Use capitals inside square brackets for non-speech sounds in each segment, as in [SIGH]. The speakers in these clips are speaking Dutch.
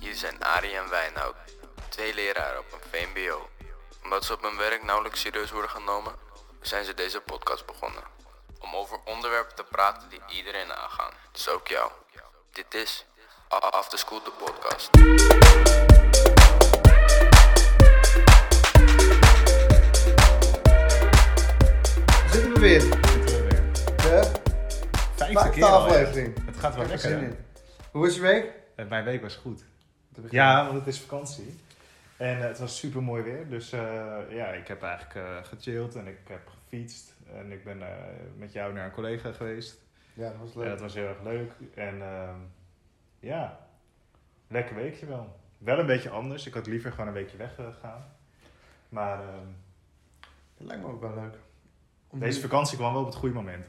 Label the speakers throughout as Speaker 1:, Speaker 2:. Speaker 1: Hier zijn Arie en Wijnhout, twee leraren op een VMBO. Omdat ze op hun werk nauwelijks serieus worden genomen, zijn ze deze podcast begonnen. Om over onderwerpen te praten die iedereen aangaan, dus ook jou. Dit is A- After School, de podcast.
Speaker 2: Zitten we weer.
Speaker 3: Zitten we weer.
Speaker 2: De
Speaker 3: Vijfde
Speaker 2: vijfde
Speaker 3: keer al, ja.
Speaker 2: aflevering.
Speaker 3: Het gaat wel
Speaker 2: Ik heb er
Speaker 3: lekker.
Speaker 2: zin
Speaker 3: ja.
Speaker 2: in. Hoe is je week?
Speaker 3: Eh, Mijn week was goed.
Speaker 2: Te beginnen.
Speaker 3: Ja, want het is vakantie. En eh, het was super mooi weer. Dus eh, ja, ik heb eigenlijk eh, gechilled en ik heb gefietst. En ik ben eh, met jou naar een collega geweest.
Speaker 2: Ja, dat was
Speaker 3: En dat
Speaker 2: leuk.
Speaker 3: was heel erg leuk. En ehm, ja, lekker weekje wel. Wel een beetje anders. Ik had liever gewoon een weekje weggegaan. Maar ehm,
Speaker 2: Dat lijkt me ook wel leuk. Om
Speaker 3: deze
Speaker 2: die-
Speaker 3: vakantie kwam wel op het goede moment.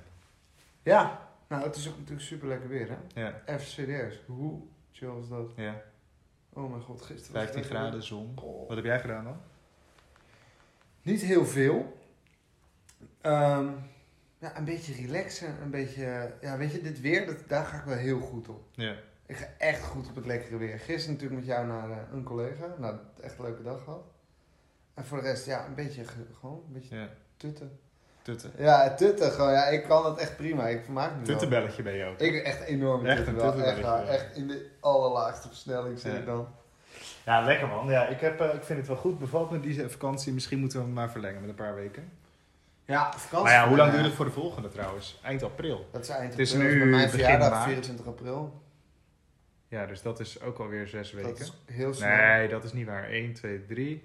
Speaker 2: Ja, nou het is ook natuurlijk super lekker weer hè.
Speaker 3: Ja,
Speaker 2: Even serieus, hoe chill is dat?
Speaker 3: ja.
Speaker 2: Oh mijn god, gisteren was het
Speaker 3: 15
Speaker 2: lekker weer.
Speaker 3: graden, zon.
Speaker 2: Oh.
Speaker 3: Wat heb jij gedaan dan?
Speaker 2: Niet heel veel. Ehm, ja, een beetje relaxen, een beetje... Ja, weet je, dit weer, dat, daar ga ik wel heel goed op.
Speaker 3: Ja.
Speaker 2: Ik ga echt goed op het lekkere weer. Gisteren natuurlijk met jou naar eh, een collega. Nou, echt een leuke dag gehad. En voor de rest, ja, een beetje ge- gewoon, een beetje
Speaker 3: Ja.
Speaker 2: tutten.
Speaker 3: Tutten.
Speaker 2: Ja, tutten gewoon. Ja, ik kan het echt prima. Ik vermaak me wel.
Speaker 3: Tuttenbelletje ben je ook.
Speaker 2: Ik ben echt enorm
Speaker 3: Echt
Speaker 2: tutten
Speaker 3: een
Speaker 2: wel. Echt,
Speaker 3: tuttenbelletje,
Speaker 2: waar.
Speaker 3: ja.
Speaker 2: echt in de allerlaagste versnelling zit
Speaker 3: Ja.
Speaker 2: ik dan.
Speaker 3: Ja, lekker man. Ja, ik, heb, eh, ik vind het wel goed. Bevalt me deze vakantie. Misschien moeten we hem maar verlengen met een paar weken.
Speaker 2: Ja, vakantie.
Speaker 3: Maar ja, hoe lang duurt het voor de volgende trouwens? Eind april.
Speaker 2: Dat is eind
Speaker 3: Het is
Speaker 2: april. Dat
Speaker 3: nu
Speaker 2: bij mijn
Speaker 3: begin
Speaker 2: verjaardag,
Speaker 3: maart.
Speaker 2: 24 april.
Speaker 3: Ja, dus dat is ook alweer zes
Speaker 2: Dat
Speaker 3: weken.
Speaker 2: is heel snel.
Speaker 3: Nee, dat is niet waar. 1, 2, 3,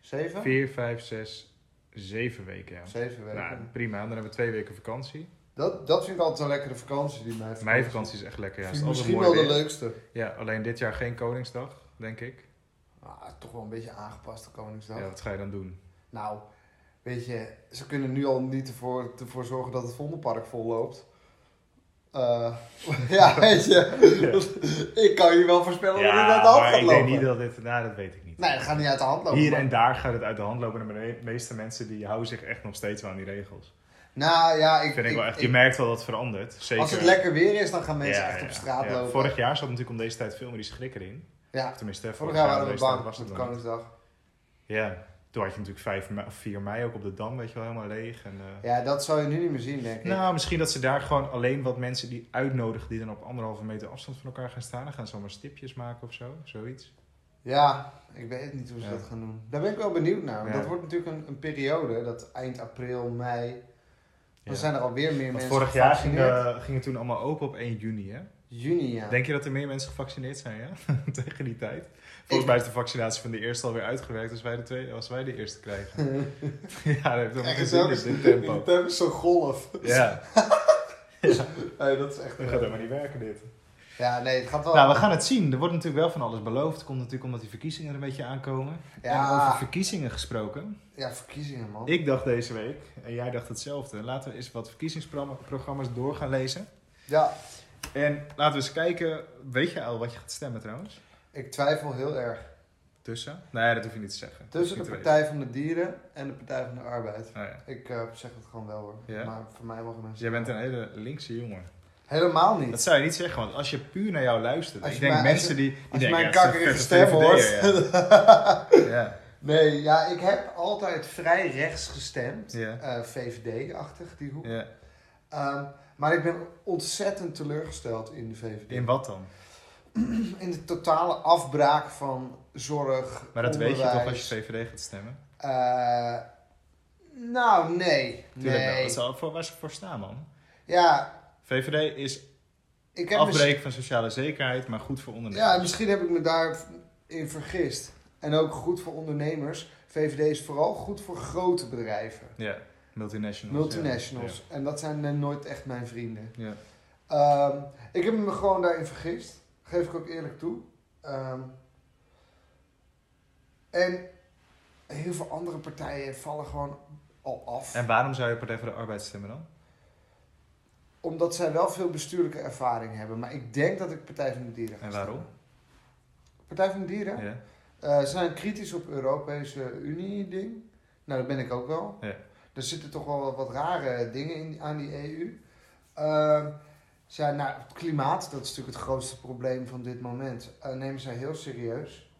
Speaker 2: Zeven?
Speaker 3: 4, 5, 6, 7 weken. Ja.
Speaker 2: Zeven weken.
Speaker 3: Nou, prima. Dan hebben we twee weken vakantie.
Speaker 2: dat, dat vind ik altijd een lekkere vakantie, die meivakantie.
Speaker 3: Mijn vakantie is echt lekker. Ja, het
Speaker 2: Vind ik
Speaker 3: is
Speaker 2: misschien
Speaker 3: altijd
Speaker 2: wel
Speaker 3: mooi
Speaker 2: de
Speaker 3: weer.
Speaker 2: leukste.
Speaker 3: Ja, alleen dit jaar geen Koningsdag, denk ik.
Speaker 2: Ah, toch wel een beetje aangepast de Koningsdag.
Speaker 3: Ja, wat ga je dan doen?
Speaker 2: Nou, weet je, ze kunnen nu al niet ervoor, ervoor zorgen dat het Vondelpark vol loopt. Eh, [LAUGHS] ja,
Speaker 3: [LAUGHS]
Speaker 2: weet je, ik kan je wel voorspellen dat het uit de hand
Speaker 3: maar
Speaker 2: gaat
Speaker 3: ik denk
Speaker 2: lopen.
Speaker 3: niet dat dit... Nou, dat weet ik niet.
Speaker 2: Nee, dat gaat niet uit de hand lopen.
Speaker 3: Hier
Speaker 2: maar-
Speaker 3: en daar gaat het uit de hand lopen. En de meeste mensen die houden zich echt nog steeds wel aan die regels.
Speaker 2: Nou ja, ik,
Speaker 3: Vind ik wel echt, je
Speaker 2: ik-
Speaker 3: merkt wel dat het verandert. Zeker.
Speaker 2: als het lekker weer is, dan gaan
Speaker 3: Ja,
Speaker 2: mensen
Speaker 3: ja,
Speaker 2: echt op
Speaker 3: ja.
Speaker 2: straat
Speaker 3: Ja,
Speaker 2: lopen.
Speaker 3: Vorig jaar zat natuurlijk om deze tijd veel meer die schrik erin.
Speaker 2: ja,
Speaker 3: Of tenminste, vorig,
Speaker 2: vorig jaar waren
Speaker 3: om
Speaker 2: we
Speaker 3: deze tijd
Speaker 2: bang
Speaker 3: was
Speaker 2: met
Speaker 3: het
Speaker 2: de
Speaker 3: nog niet.
Speaker 2: Koningsdag.
Speaker 3: Ja, toen had je natuurlijk 5 mei, of 4 mei ook op de Dam, weet je wel, helemaal leeg. En, eh,
Speaker 2: Ja, dat zou je nu niet meer zien, denk ik.
Speaker 3: Nou, misschien dat ze daar gewoon alleen wat mensen die uitnodigen... die dan op anderhalve meter afstand van elkaar gaan staan. Dan gaan ze allemaal stipjes maken of zo, zoiets.
Speaker 2: Ja, ik weet niet hoe ze
Speaker 3: Ja.
Speaker 2: dat gaan doen. Daar ben ik wel benieuwd naar. want
Speaker 3: Ja.
Speaker 2: Dat wordt natuurlijk een, een periode, dat eind april, mei. Dan
Speaker 3: Ja.
Speaker 2: zijn er alweer meer
Speaker 3: Want
Speaker 2: mensen
Speaker 3: vorig jaar ging,
Speaker 2: gevaccineerd.
Speaker 3: eh, ging het toen allemaal open op 1 juni, hè?
Speaker 2: Juni, ja.
Speaker 3: Denk je dat er meer mensen gevaccineerd zijn, ja? [LAUGHS] Tegen die tijd? Volgens
Speaker 2: Ik-
Speaker 3: mij is de vaccinatie van de eerste alweer uitgewerkt als wij de, tweede, als wij de eerste
Speaker 2: [LAUGHS]
Speaker 3: krijgen. ja, dat heeft helemaal geen zin in dit tempo.
Speaker 2: is zo'n golf. [LAUGHS]
Speaker 3: Ja,
Speaker 2: Nee, dat is echt
Speaker 3: dat gaat helemaal niet werken dit.
Speaker 2: Ja, nee, het gaat wel.
Speaker 3: Nou, we gaan het zien. Er wordt natuurlijk wel van alles beloofd. komt natuurlijk omdat die verkiezingen er een beetje aankomen. En over
Speaker 2: ja,
Speaker 3: verkiezingen gesproken.
Speaker 2: ja, verkiezingen, man.
Speaker 3: Ik dacht deze week, en jij dacht hetzelfde. Laten we eens wat verkiezingsprogramma's door gaan lezen.
Speaker 2: Ja,
Speaker 3: En laten we eens kijken, weet je al wat je gaat stemmen trouwens?
Speaker 2: ik twijfel heel erg.
Speaker 3: Tussen? Nee, dat hoef je niet te zeggen.
Speaker 2: Tussen de
Speaker 3: Dat hoef je niet te
Speaker 2: Partij van de Dieren en de Partij van de Arbeid.
Speaker 3: weten. Oh, ja.
Speaker 2: Ik eh, zeg het gewoon wel hoor.
Speaker 3: Ja?
Speaker 2: Maar voor mij mogen
Speaker 3: Dus
Speaker 2: mensen.
Speaker 3: jij bent een hele linkse jongen.
Speaker 2: Helemaal niet.
Speaker 3: Dat zou je niet zeggen, want als je puur naar jou luistert.
Speaker 2: Als
Speaker 3: Ik
Speaker 2: je
Speaker 3: denk
Speaker 2: mij- als
Speaker 3: mensen die. die
Speaker 2: Als je
Speaker 3: denken,
Speaker 2: mijn
Speaker 3: ja, het is
Speaker 2: kakkerige
Speaker 3: een
Speaker 2: stem
Speaker 3: vette
Speaker 2: hoort.
Speaker 3: VVD'er, Ja.
Speaker 2: [LAUGHS] nee, ja, ik heb altijd vrij rechts gestemd.
Speaker 3: Ja.
Speaker 2: Eh, VVD-achtig, die hoek.
Speaker 3: Ja. Ja.
Speaker 2: Ehm, maar ik ben ontzettend teleurgesteld in de VVD.
Speaker 3: In wat dan?
Speaker 2: In de totale afbraak van zorg.
Speaker 3: Maar dat weet je
Speaker 2: onderwijs.
Speaker 3: toch als je VVD gaat stemmen?
Speaker 2: Eh, nou, nee.
Speaker 3: Tuurlijk wel.
Speaker 2: nee.
Speaker 3: Dat is al voor, waar ze voor staan, man.
Speaker 2: Ja,
Speaker 3: VVD is
Speaker 2: ik heb mis-
Speaker 3: afbreken van sociale zekerheid, maar goed voor ondernemers.
Speaker 2: ja, misschien heb ik me daarin vergist. En ook goed voor ondernemers. VVD is vooral goed voor grote bedrijven.
Speaker 3: Ja. Multinationals.
Speaker 2: Multinationals. En dat zijn eh, nooit echt mijn vrienden.
Speaker 3: Ja. Ja.
Speaker 2: Ehm, ik heb me gewoon daarin vergist. Geef ik ook eerlijk toe. Ehm, en heel veel andere partijen vallen gewoon al af.
Speaker 3: En waarom zou je Partij voor de Arbeid stemmen dan?
Speaker 2: Omdat zij wel veel bestuurlijke ervaring hebben. Maar ik denk dat ik Partij van de Dieren ga
Speaker 3: En waarom?
Speaker 2: stemmen. Partij van de Dieren?
Speaker 3: Ja.
Speaker 2: Eh, ze zijn kritisch op Europese Unie-ding. Nou, dat ben ik ook wel.
Speaker 3: Ja.
Speaker 2: Er zitten toch wel wat rare dingen in, aan die EU. E Ehm, zij, nou, het klimaat, dat is natuurlijk het grootste probleem van dit moment, eh, nemen zij heel serieus.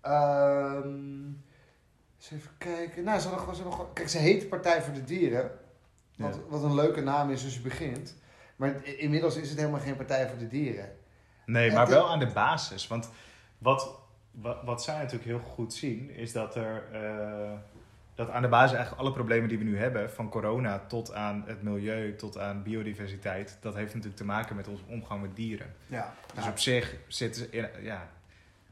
Speaker 2: Ehm, eens even kijken. Nou, ze hadden gewoon, ze hadden gewoon- kijk, ze heet Partij voor de Dieren. Wat,
Speaker 3: Ja.
Speaker 2: wat een leuke naam is als je begint. Maar i- inmiddels is het helemaal geen Partij voor de Dieren.
Speaker 3: Nee,
Speaker 2: Het-
Speaker 3: maar wel aan de basis. Want wat, wat, wat zij natuurlijk heel goed zien, is dat er. eh, dat aan de basis eigenlijk alle problemen die we nu hebben, van corona tot aan het milieu, tot aan biodiversiteit, dat heeft natuurlijk te maken met onze omgang met dieren.
Speaker 2: Ja,
Speaker 3: Dus op zich zitten ze. in- Ja,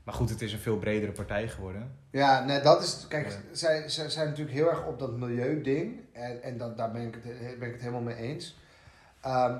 Speaker 3: maar goed, het is een veel bredere partij geworden.
Speaker 2: Ja, nee, dat is. Kijk,
Speaker 3: Ja.
Speaker 2: zij, zij zijn natuurlijk heel erg op dat milieuding. En, en dat, daar ben ik, het, ben ik het helemaal mee eens. Ehm,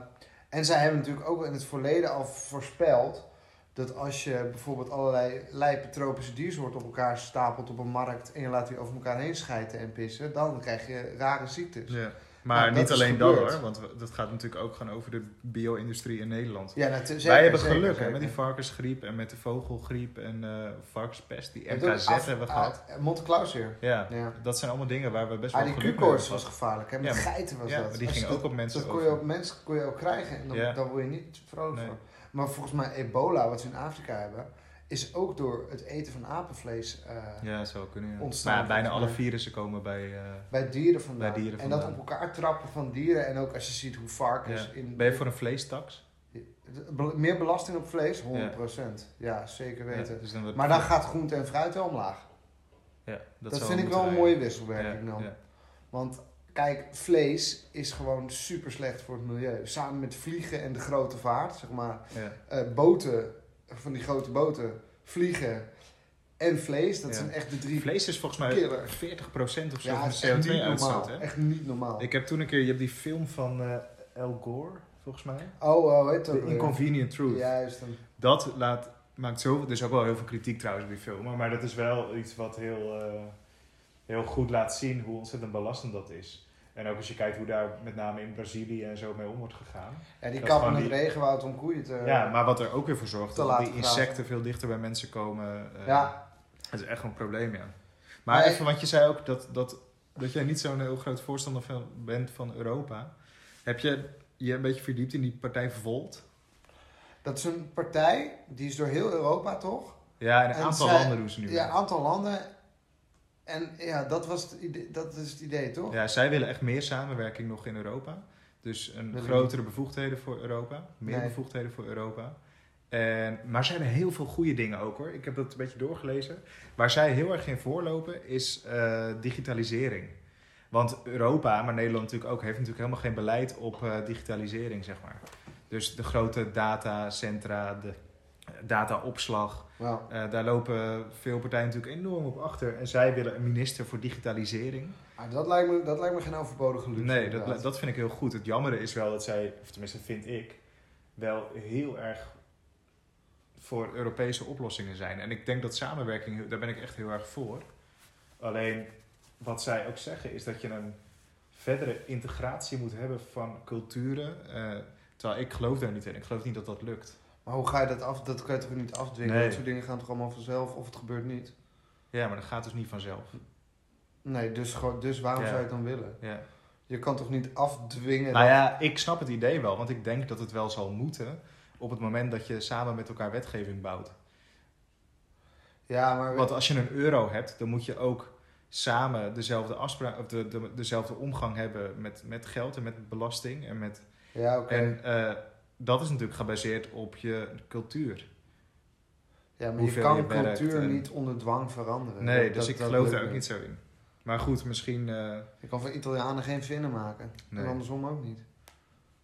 Speaker 2: en zij hebben natuurlijk ook in het verleden al voorspeld. dat als je bijvoorbeeld allerlei lijpe tropische diersoorten op elkaar stapelt op een markt. en je laat die over elkaar heen schijten en pissen. dan krijg je rare ziektes. Ja,
Speaker 3: Maar
Speaker 2: Nou, dat
Speaker 3: niet
Speaker 2: is
Speaker 3: alleen dat
Speaker 2: gebeurd.
Speaker 3: hoor, want we- dat gaat natuurlijk ook gewoon over de bio-industrie in Nederland.
Speaker 2: nou, te- zeker,
Speaker 3: Wij hebben
Speaker 2: zeker,
Speaker 3: geluk hè,
Speaker 2: zeker.
Speaker 3: met die varkensgriep en met de vogelgriep en eh, varkenspest, die
Speaker 2: Ik bedoel,
Speaker 3: MKZ
Speaker 2: af-
Speaker 3: hebben we
Speaker 2: ah,
Speaker 3: gehad.
Speaker 2: Monte Claus weer.
Speaker 3: Ja,
Speaker 2: Ja.
Speaker 3: dat zijn allemaal dingen waar we best wel
Speaker 2: Ah, die
Speaker 3: geluk mee
Speaker 2: Q-koorts was
Speaker 3: hebben.
Speaker 2: gevaarlijk, hè? Met
Speaker 3: Ja, maar-
Speaker 2: geiten was
Speaker 3: Ja,
Speaker 2: dat.
Speaker 3: maar die
Speaker 2: Als
Speaker 3: ging
Speaker 2: je
Speaker 3: ook op mensen
Speaker 2: Dat kon je
Speaker 3: over.
Speaker 2: ook mensen kon je ook krijgen en dan,
Speaker 3: Ja.
Speaker 2: dan word je niet vrolijk
Speaker 3: Nee.
Speaker 2: van. Maar volgens mij ebola, wat ze in Afrika hebben, is ook door het eten van apenvlees eh,
Speaker 3: Ja, zou kunnen. Ja.
Speaker 2: Ontstaan,
Speaker 3: Maar bijna
Speaker 2: volgens
Speaker 3: alle
Speaker 2: mij.
Speaker 3: virussen komen bij. eh,
Speaker 2: bij dieren vandaan.
Speaker 3: Bij dieren
Speaker 2: En dat op
Speaker 3: vandaan.
Speaker 2: elkaar trappen van dieren en ook als je ziet hoe varkens
Speaker 3: ja.
Speaker 2: in
Speaker 3: Ben je voor een vleestaks?
Speaker 2: Be- meer belasting op vlees, 100%. Ja, zeker weten.
Speaker 3: Ja, dus dan wordt-
Speaker 2: Maar dan gaat groente en fruit wel omlaag.
Speaker 3: Ja,
Speaker 2: Dat,
Speaker 3: zou
Speaker 2: vind ik
Speaker 3: moeten
Speaker 2: wel een mooie
Speaker 3: eigenlijk.
Speaker 2: wisselwerking
Speaker 3: Ja,
Speaker 2: dan.
Speaker 3: ja.
Speaker 2: Want kijk, vlees is gewoon super slecht voor het milieu. Samen met vliegen en de grote vaart, zeg maar.
Speaker 3: ja.
Speaker 2: eh, boten, van die grote boten, vliegen en vlees. Dat
Speaker 3: Ja.
Speaker 2: zijn echt de drie.
Speaker 3: Vlees is volgens mij
Speaker 2: Killer.
Speaker 3: 40% of zo
Speaker 2: ja,
Speaker 3: van
Speaker 2: dat is echt
Speaker 3: de
Speaker 2: niet normaal.
Speaker 3: CO2-uitstoot. hè?
Speaker 2: Echt niet normaal.
Speaker 3: Ik heb toen een keer, je hebt die film van eh Al Gore, volgens mij.
Speaker 2: Oh, oh, heet dat
Speaker 3: The Inconvenient Truth.
Speaker 2: Juist. een-
Speaker 3: dat laat, maakt zoveel. Er is ook wel heel veel kritiek trouwens op die film. Maar dat is wel iets wat heel, eh, heel goed laat zien hoe ontzettend belastend dat is. En ook als je kijkt hoe daar met name in Brazilië en zo mee om wordt gegaan.
Speaker 2: Ja, die
Speaker 3: Dat
Speaker 2: kappen
Speaker 3: gewoon
Speaker 2: het regenwoud om koeien te.
Speaker 3: ja, maar wat er ook weer voor zorgt
Speaker 2: Eh, te
Speaker 3: dat
Speaker 2: laten
Speaker 3: die
Speaker 2: grazen.
Speaker 3: insecten veel dichter bij mensen komen. eh,
Speaker 2: Ja.
Speaker 3: Dat is echt een probleem, ja. Maar
Speaker 2: Maar-
Speaker 3: even, want je zei ook dat, dat, dat jij niet zo'n heel groot voorstander van, bent van Europa. Heb je je een beetje verdiept in die partij Volt?
Speaker 2: Dat is een partij, die is door heel Europa toch?
Speaker 3: Ja, in een
Speaker 2: En
Speaker 3: aantal
Speaker 2: zij-
Speaker 3: landen doen ze nu.
Speaker 2: Ja,
Speaker 3: weer.
Speaker 2: aantal landen. En ja, dat, was het idee, dat is het idee toch?
Speaker 3: Ja, zij willen echt meer samenwerking nog in Europa. Dus een
Speaker 2: Willen
Speaker 3: grotere bevoegdheden voor Europa. Meer
Speaker 2: Nee.
Speaker 3: bevoegdheden voor Europa. En, maar ze hebben heel veel goede dingen ook hoor. Ik heb dat een beetje doorgelezen. Waar zij heel erg in voorlopen is eh, digitalisering. Want Europa, maar Nederland natuurlijk ook, heeft natuurlijk helemaal geen beleid op eh, digitalisering, zeg maar. Dus de grote datacentra, de eh, dataopslag,
Speaker 2: Nou,
Speaker 3: eh, daar lopen veel partijen natuurlijk enorm op achter. En zij willen een minister voor digitalisering.
Speaker 2: maar dat, lijkt me, dat lijkt me geen overbodige luxe.
Speaker 3: Nee, dat,
Speaker 2: inderdaad.
Speaker 3: li- dat vind ik heel goed. Het jammere is wel dat zij, of tenminste vind ik, wel heel erg voor Europese oplossingen zijn. En ik denk dat samenwerking, heel- daar ben ik echt heel erg voor. Alleen wat zij ook zeggen is dat je een verdere integratie moet hebben van culturen. eh, terwijl ik geloof daar niet in. Ik geloof niet dat dat lukt.
Speaker 2: Maar hoe ga je dat af? Dat kan je toch niet afdwingen?
Speaker 3: Nee.
Speaker 2: Dat soort dingen gaan toch allemaal vanzelf of het gebeurt niet?
Speaker 3: Ja, maar dat gaat dus niet vanzelf.
Speaker 2: Nee, dus, gewoon, dus waarom
Speaker 3: Ja.
Speaker 2: zou je het dan willen?
Speaker 3: Ja.
Speaker 2: Je kan toch niet afdwingen.
Speaker 3: Nou ja, ik snap het idee wel, want ik denk dat het wel zal moeten op het moment dat je samen met elkaar wetgeving bouwt.
Speaker 2: Ja, maar
Speaker 3: Want als je een euro hebt, dan moet je ook samen dezelfde, afspraak, of de, de, dezelfde omgang hebben met, met geld en met belasting. En, met,
Speaker 2: ja, oké.
Speaker 3: en eh, dat is natuurlijk gebaseerd op je cultuur.
Speaker 2: Ja, maar je
Speaker 3: hoeveel
Speaker 2: kan
Speaker 3: je werkt
Speaker 2: cultuur
Speaker 3: en-
Speaker 2: niet onder dwang veranderen.
Speaker 3: Nee,
Speaker 2: Eh, Dat-
Speaker 3: dus
Speaker 2: dat-
Speaker 3: ik
Speaker 2: dat
Speaker 3: geloof
Speaker 2: lukt
Speaker 3: daar ook niet zo in. Maar goed, misschien. eh,
Speaker 2: Je kan van Italianen geen vinnen maken.
Speaker 3: nee.
Speaker 2: En andersom ook niet.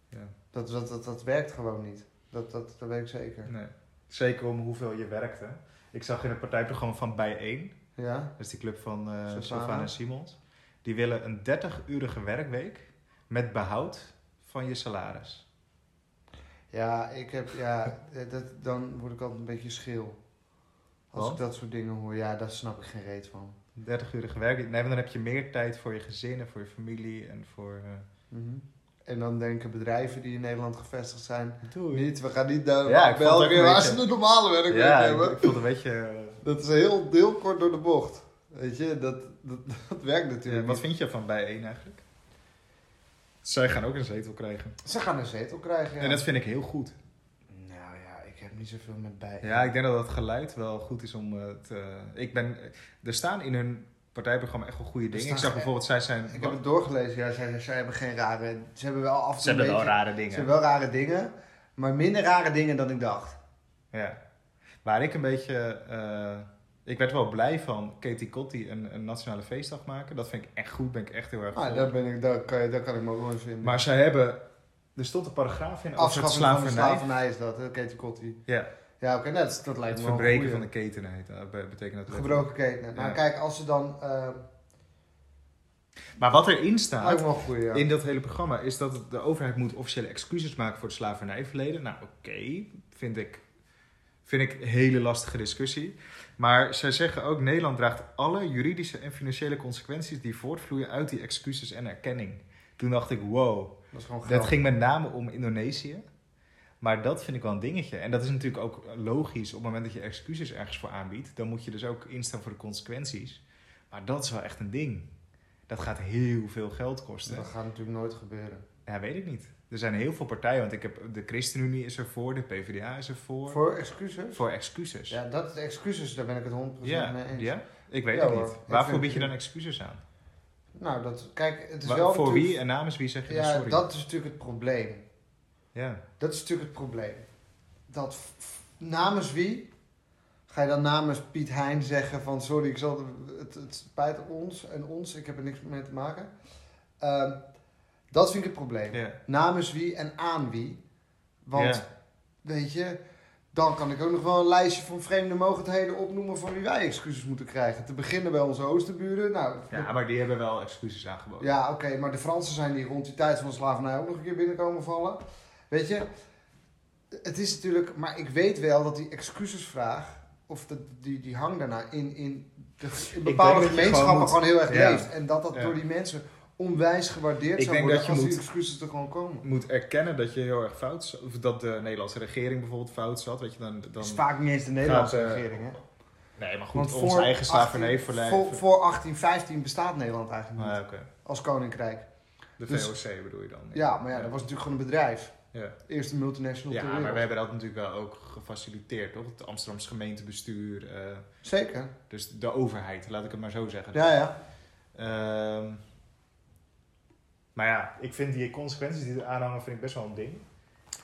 Speaker 3: Ja.
Speaker 2: Dat, dat, dat, dat werkt gewoon niet. Dat, dat, dat weet ik zeker.
Speaker 3: nee. Zeker om hoeveel je werkt. Hè? Ik zag in het partijprogramma van Bijeen,
Speaker 2: Ja?
Speaker 3: dat is die club van eh
Speaker 2: Sylvana.
Speaker 3: Sylvana en Simons. Die willen een 30-urige werkweek met behoud van je salaris.
Speaker 2: Ja, ik heb, ja, eh, dat, dan word ik altijd een beetje schil. Als
Speaker 3: Want?
Speaker 2: ik dat soort dingen hoor, ja, daar snap ik geen reet van.
Speaker 3: 30 uur gewerkt. Nee, want dan heb je meer tijd voor je gezin en voor je familie en voor... eh,
Speaker 2: Mhm. En dan denken bedrijven die in Nederland gevestigd zijn,
Speaker 3: Doei.
Speaker 2: Niet, we gaan niet naar
Speaker 3: Ja,
Speaker 2: ja,
Speaker 3: ik vond het ook
Speaker 2: België
Speaker 3: een
Speaker 2: waar
Speaker 3: beetje-
Speaker 2: ze de normale werk
Speaker 3: ja, ik,
Speaker 2: hebben.
Speaker 3: ik vond het een beetje... eh,
Speaker 2: Dat is heel, heel kort door de bocht. Weet je, [LAUGHS] dat, dat, dat werkt natuurlijk
Speaker 3: wat
Speaker 2: niet.
Speaker 3: vind je van bijeen eigenlijk? Zij gaan ook een zetel krijgen.
Speaker 2: Ze gaan een zetel krijgen. Ja.
Speaker 3: En dat vind ik heel goed.
Speaker 2: Nou ja, ik heb niet zoveel met bij.
Speaker 3: Ja, ik denk dat dat geluid wel goed is om eh, te... ik ben... Er staan in hun partijprogramma echt wel goede dingen.
Speaker 2: staan-
Speaker 3: Ik zag bijvoorbeeld, zij zijn...
Speaker 2: Ik heb het doorgelezen. Ja, zij, zij hebben geen rare... Ze hebben wel af en toe
Speaker 3: Ze hebben
Speaker 2: een
Speaker 3: wel
Speaker 2: beetje-
Speaker 3: rare
Speaker 2: Ze
Speaker 3: dingen.
Speaker 2: hebben wel rare dingen. Maar minder rare dingen dan ik dacht.
Speaker 3: Ja. Waar ik een beetje... eh, ik werd wel blij van Katie Cotti een, een nationale feestdag maken. Dat vind ik echt goed. Ben ik echt heel erg
Speaker 2: Ah,
Speaker 3: voor.
Speaker 2: daar, ben ik, daar, kan, je- daar kan ik me ook wel eens in.
Speaker 3: Maar zij hebben... Er stond een paragraaf in over het
Speaker 2: afschaffing van de
Speaker 3: slavernij.
Speaker 2: slavernij is dat, hè? Katie Kotti.
Speaker 3: Ja,
Speaker 2: Ja, oké, nou, dat, dat lijkt
Speaker 3: het
Speaker 2: me wel
Speaker 3: verbreken
Speaker 2: een
Speaker 3: van de
Speaker 2: goeie.
Speaker 3: keten heet. dat. be- betekent dat
Speaker 2: Gebroken keten. Nou,
Speaker 3: Ja.
Speaker 2: kijk, als ze dan... eh
Speaker 3: Maar wat erin staat...
Speaker 2: lijkt me wel een goeie, ja.
Speaker 3: in dat hele programma is dat het- de overheid moet officiële excuses maken voor het slavernijverleden. Nou, oké, vind ik. Vind ik een hele lastige discussie. Maar zij zeggen ook: Nederland draagt alle juridische en financiële consequenties die voortvloeien uit die excuses en erkenning. Toen dacht ik: wow,
Speaker 2: Dat is gewoon
Speaker 3: dat
Speaker 2: geld.
Speaker 3: ging met name om Indonesië. Maar dat vind ik wel een dingetje. En dat is natuurlijk ook logisch. Op het moment dat je excuses ergens voor aanbiedt, dan moet je dus ook instaan voor de consequenties. Maar dat is wel echt een ding. Dat gaat heel veel geld kosten.
Speaker 2: Dat gaat natuurlijk nooit gebeuren.
Speaker 3: Ja, weet ik niet. Er zijn heel veel partijen, want ik heb, de ChristenUnie is ervoor, de PvdA is ervoor. Voor,
Speaker 2: Voor excuses?
Speaker 3: excuses.
Speaker 2: Ja, dat excuses, daar ben ik het 100% mee
Speaker 3: ja,
Speaker 2: eens.
Speaker 3: ja? ik weet
Speaker 2: Ja,
Speaker 3: het
Speaker 2: hoor.
Speaker 3: niet.
Speaker 2: Ik
Speaker 3: Waarvoor
Speaker 2: vind-
Speaker 3: bied je dan excuses aan?
Speaker 2: Nou, dat, kijk, het is
Speaker 3: Wa-
Speaker 2: wel
Speaker 3: voor
Speaker 2: natuurlijk-
Speaker 3: wie en namens wie zeg je dan
Speaker 2: Ja,
Speaker 3: sorry?
Speaker 2: dat is natuurlijk het probleem.
Speaker 3: Ja.
Speaker 2: Dat is natuurlijk het probleem. Dat f- f- namens wie ga je dan namens Piet Hein zeggen van sorry, ik zal het, het spijt ons en ons, ik heb er niks mee te maken. Ehm, dat vind ik het probleem.
Speaker 3: Ja.
Speaker 2: Namens wie en aan wie. Want
Speaker 3: Ja.
Speaker 2: weet je, dan kan ik ook nog wel een lijstje van vreemde mogelijkheden opnoemen van wie wij excuses moeten krijgen. Te beginnen bij onze oosterburen. Nou,
Speaker 3: Ja, oh. maar die hebben wel excuses aangeboden.
Speaker 2: ja, oké, maar de Fransen zijn die rond die tijd van de slavernij ook nog een keer binnenkomen vallen. Weet je, het is natuurlijk, maar ik weet wel dat die excuusvraag, of dat die, die hang daarna in, in, de, in
Speaker 3: denk dat
Speaker 2: bepaalde
Speaker 3: je
Speaker 2: gemeenschappen
Speaker 3: gewoon
Speaker 2: gewoon,
Speaker 3: moet-
Speaker 2: heel erg
Speaker 3: Ja.
Speaker 2: leeft. En dat dat
Speaker 3: Ja.
Speaker 2: door die mensen onwijs gewaardeerd
Speaker 3: Ik
Speaker 2: zou
Speaker 3: denk
Speaker 2: worden
Speaker 3: dat je
Speaker 2: als die
Speaker 3: moet-
Speaker 2: excuses er gewoon komen.
Speaker 3: Je moet erkennen dat je heel erg fout z- of dat de Nederlandse regering bijvoorbeeld fout zat. Weet je, dan, dan...
Speaker 2: Dat is vaak niet eens de Nederlandse
Speaker 3: Gaat, eh,
Speaker 2: regering, hè?
Speaker 3: Nee, maar goed,
Speaker 2: Want
Speaker 3: ons eigen
Speaker 2: 18
Speaker 3: slavernij verleden.
Speaker 2: voor, voor 1815 bestaat Nederland eigenlijk niet
Speaker 3: Ah, oké.
Speaker 2: als koninkrijk.
Speaker 3: De
Speaker 2: Dus-
Speaker 3: VOC bedoel je dan?
Speaker 2: Ja, maar ja, dat was natuurlijk gewoon een bedrijf.
Speaker 3: Ja.
Speaker 2: Eerste multinational
Speaker 3: Ja,
Speaker 2: ter wereld.
Speaker 3: maar we hebben dat natuurlijk wel ook gefaciliteerd, toch? Het Amsterdamse gemeentebestuur, eh,
Speaker 2: Zeker.
Speaker 3: dus de overheid, laat ik het maar zo zeggen.
Speaker 2: Ja, ja.
Speaker 3: Ehm, maar ja, ik vind die consequenties die er aanhangen, vind ik best wel een ding.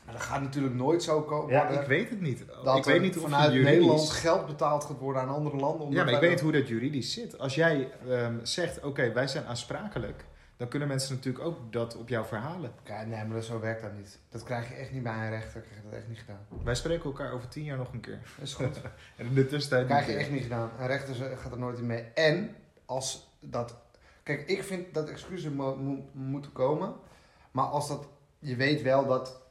Speaker 2: Maar dat gaat natuurlijk nooit zo komen.
Speaker 3: Ja,
Speaker 2: worden
Speaker 3: ik weet het niet.
Speaker 2: dat
Speaker 3: ik weet
Speaker 2: er
Speaker 3: niet of
Speaker 2: vanuit
Speaker 3: je juridisch...
Speaker 2: Nederland geld betaald gaat worden aan andere landen.
Speaker 3: Ja,
Speaker 2: omdat
Speaker 3: maar ik
Speaker 2: wij
Speaker 3: weet hoe dat juridisch zit. Als jij ehm, zegt, oké, wij zijn aansprakelijk, dan kunnen mensen natuurlijk ook dat op jou verhalen.
Speaker 2: dat- Kijk, nee, maar dat- zo werkt dat niet. Dat krijg je echt niet bij een rechter. Krijg je dat echt niet gedaan.
Speaker 3: Wij spreken elkaar over tien jaar nog een keer.
Speaker 2: Dat
Speaker 3: [LAUGHS]
Speaker 2: is goed.
Speaker 3: En in de
Speaker 2: Dat
Speaker 3: tussentijd...
Speaker 2: krijg je
Speaker 3: niet meer.
Speaker 2: echt niet gedaan. Een rechter z- gaat er nooit in mee. En als dat... Kijk, ik vind dat excuses mo- mo- moeten komen. Maar als dat... Je weet wel dat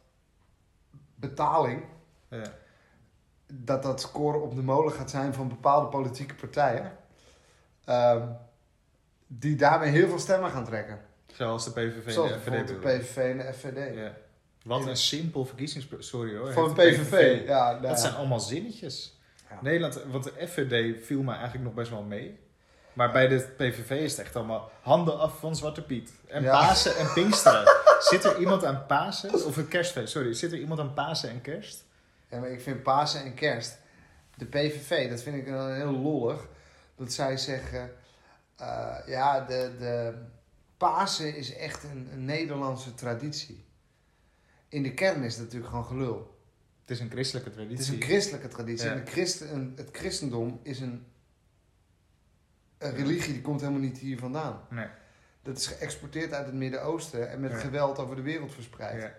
Speaker 2: betaling...
Speaker 3: Ja.
Speaker 2: dat dat scoren op de molen gaat zijn van bepaalde politieke partijen. Ehm, die daarmee heel veel stemmen gaan trekken.
Speaker 3: Zoals de PVV en
Speaker 2: Zoals
Speaker 3: de FVD
Speaker 2: bijvoorbeeld de
Speaker 3: bedoelen.
Speaker 2: PVV en de FVD.
Speaker 3: Ja. Wat
Speaker 2: Ja.
Speaker 3: een simpel verkiezingsproces. Sorry hoor.
Speaker 2: Van
Speaker 3: heeft
Speaker 2: PVV.
Speaker 3: de
Speaker 2: Ja, nou ja.
Speaker 3: Dat zijn allemaal zinnetjes.
Speaker 2: Ja.
Speaker 3: Nederland, want de FVD viel me eigenlijk nog best wel mee. Maar bij de PVV is het echt allemaal handen af van Zwarte Piet. En
Speaker 2: Ja.
Speaker 3: Pasen en
Speaker 2: [LAUGHS]
Speaker 3: Pinksteren. zit er iemand aan Pasen? Of een kerstfeest, sorry. Zit er iemand aan Pasen en kerst?
Speaker 2: Ja, maar ik vind Pasen en Kerst. De PVV, dat vind ik dan heel lollig. Dat zij zeggen: eh, ja, de, de Pasen is echt een, een Nederlandse traditie. In de kern is dat natuurlijk gewoon gelul.
Speaker 3: Het is een christelijke traditie.
Speaker 2: Het is een christelijke traditie.
Speaker 3: Ja.
Speaker 2: En de christen, een- het christendom is een, een religie die komt helemaal niet hier vandaan.
Speaker 3: Nee.
Speaker 2: Dat is geëxporteerd uit het Midden-Oosten en met
Speaker 3: Ja.
Speaker 2: geweld over de wereld verspreid.
Speaker 3: Ja.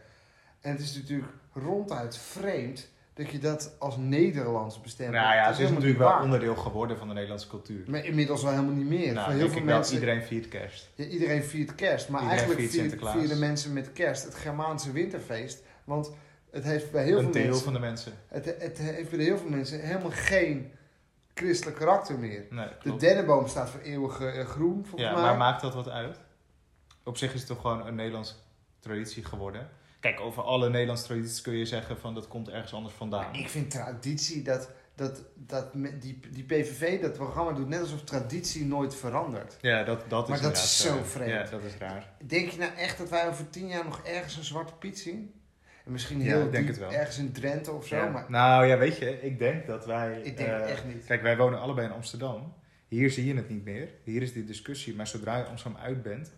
Speaker 2: En het is natuurlijk ronduit vreemd dat je dat als Nederlands bestempelt.
Speaker 3: Nou ja,
Speaker 2: Dat
Speaker 3: het is
Speaker 2: helemaal
Speaker 3: natuurlijk
Speaker 2: niet
Speaker 3: wel
Speaker 2: waar.
Speaker 3: onderdeel geworden van de Nederlandse cultuur.
Speaker 2: Maar inmiddels wel helemaal niet meer.
Speaker 3: nou,
Speaker 2: Voor heel
Speaker 3: denk
Speaker 2: veel
Speaker 3: ik wel,
Speaker 2: mensen, iedereen...
Speaker 3: iedereen viert kerst.
Speaker 2: Ja, iedereen viert kerst. Maar
Speaker 3: Iedereen
Speaker 2: eigenlijk
Speaker 3: viert
Speaker 2: viert
Speaker 3: Sinterklaas.
Speaker 2: vieren mensen met kerst het Germaanse winterfeest. Want het heeft bij heel
Speaker 3: een
Speaker 2: veel
Speaker 3: deel
Speaker 2: mensen...
Speaker 3: van de mensen.
Speaker 2: Het, het heeft bij heel veel mensen helemaal geen christelijk karakter meer.
Speaker 3: Nee,
Speaker 2: De
Speaker 3: klopt.
Speaker 2: dennenboom staat voor eeuwig eh, groen, volgens
Speaker 3: Ja,
Speaker 2: mij.
Speaker 3: maar maakt dat wat uit? Op zich is het toch gewoon een Nederlandse traditie geworden. Kijk, over alle Nederlandse tradities kun je zeggen van dat komt ergens anders vandaan.
Speaker 2: Ik vind traditie dat... dat, dat me- die, die PVV, dat programma doet net alsof traditie nooit verandert.
Speaker 3: Ja, dat, dat is
Speaker 2: Maar dat
Speaker 3: inderdaad eh,
Speaker 2: is zo vreemd.
Speaker 3: Ja, dat is raar.
Speaker 2: Denk je nou echt dat wij over tien jaar nog ergens een zwarte piet zien? En misschien
Speaker 3: Ja,
Speaker 2: heel
Speaker 3: ik denk
Speaker 2: diep
Speaker 3: het wel.
Speaker 2: ergens in Drenthe of zo,
Speaker 3: Ja.
Speaker 2: maar
Speaker 3: Nou ja, weet je, ik denk dat wij...
Speaker 2: ik denk
Speaker 3: eh,
Speaker 2: het echt niet.
Speaker 3: Kijk, wij wonen allebei in Amsterdam. Hier zie je het niet meer. Hier is die discussie. Maar zodra je Amsterdam uit bent,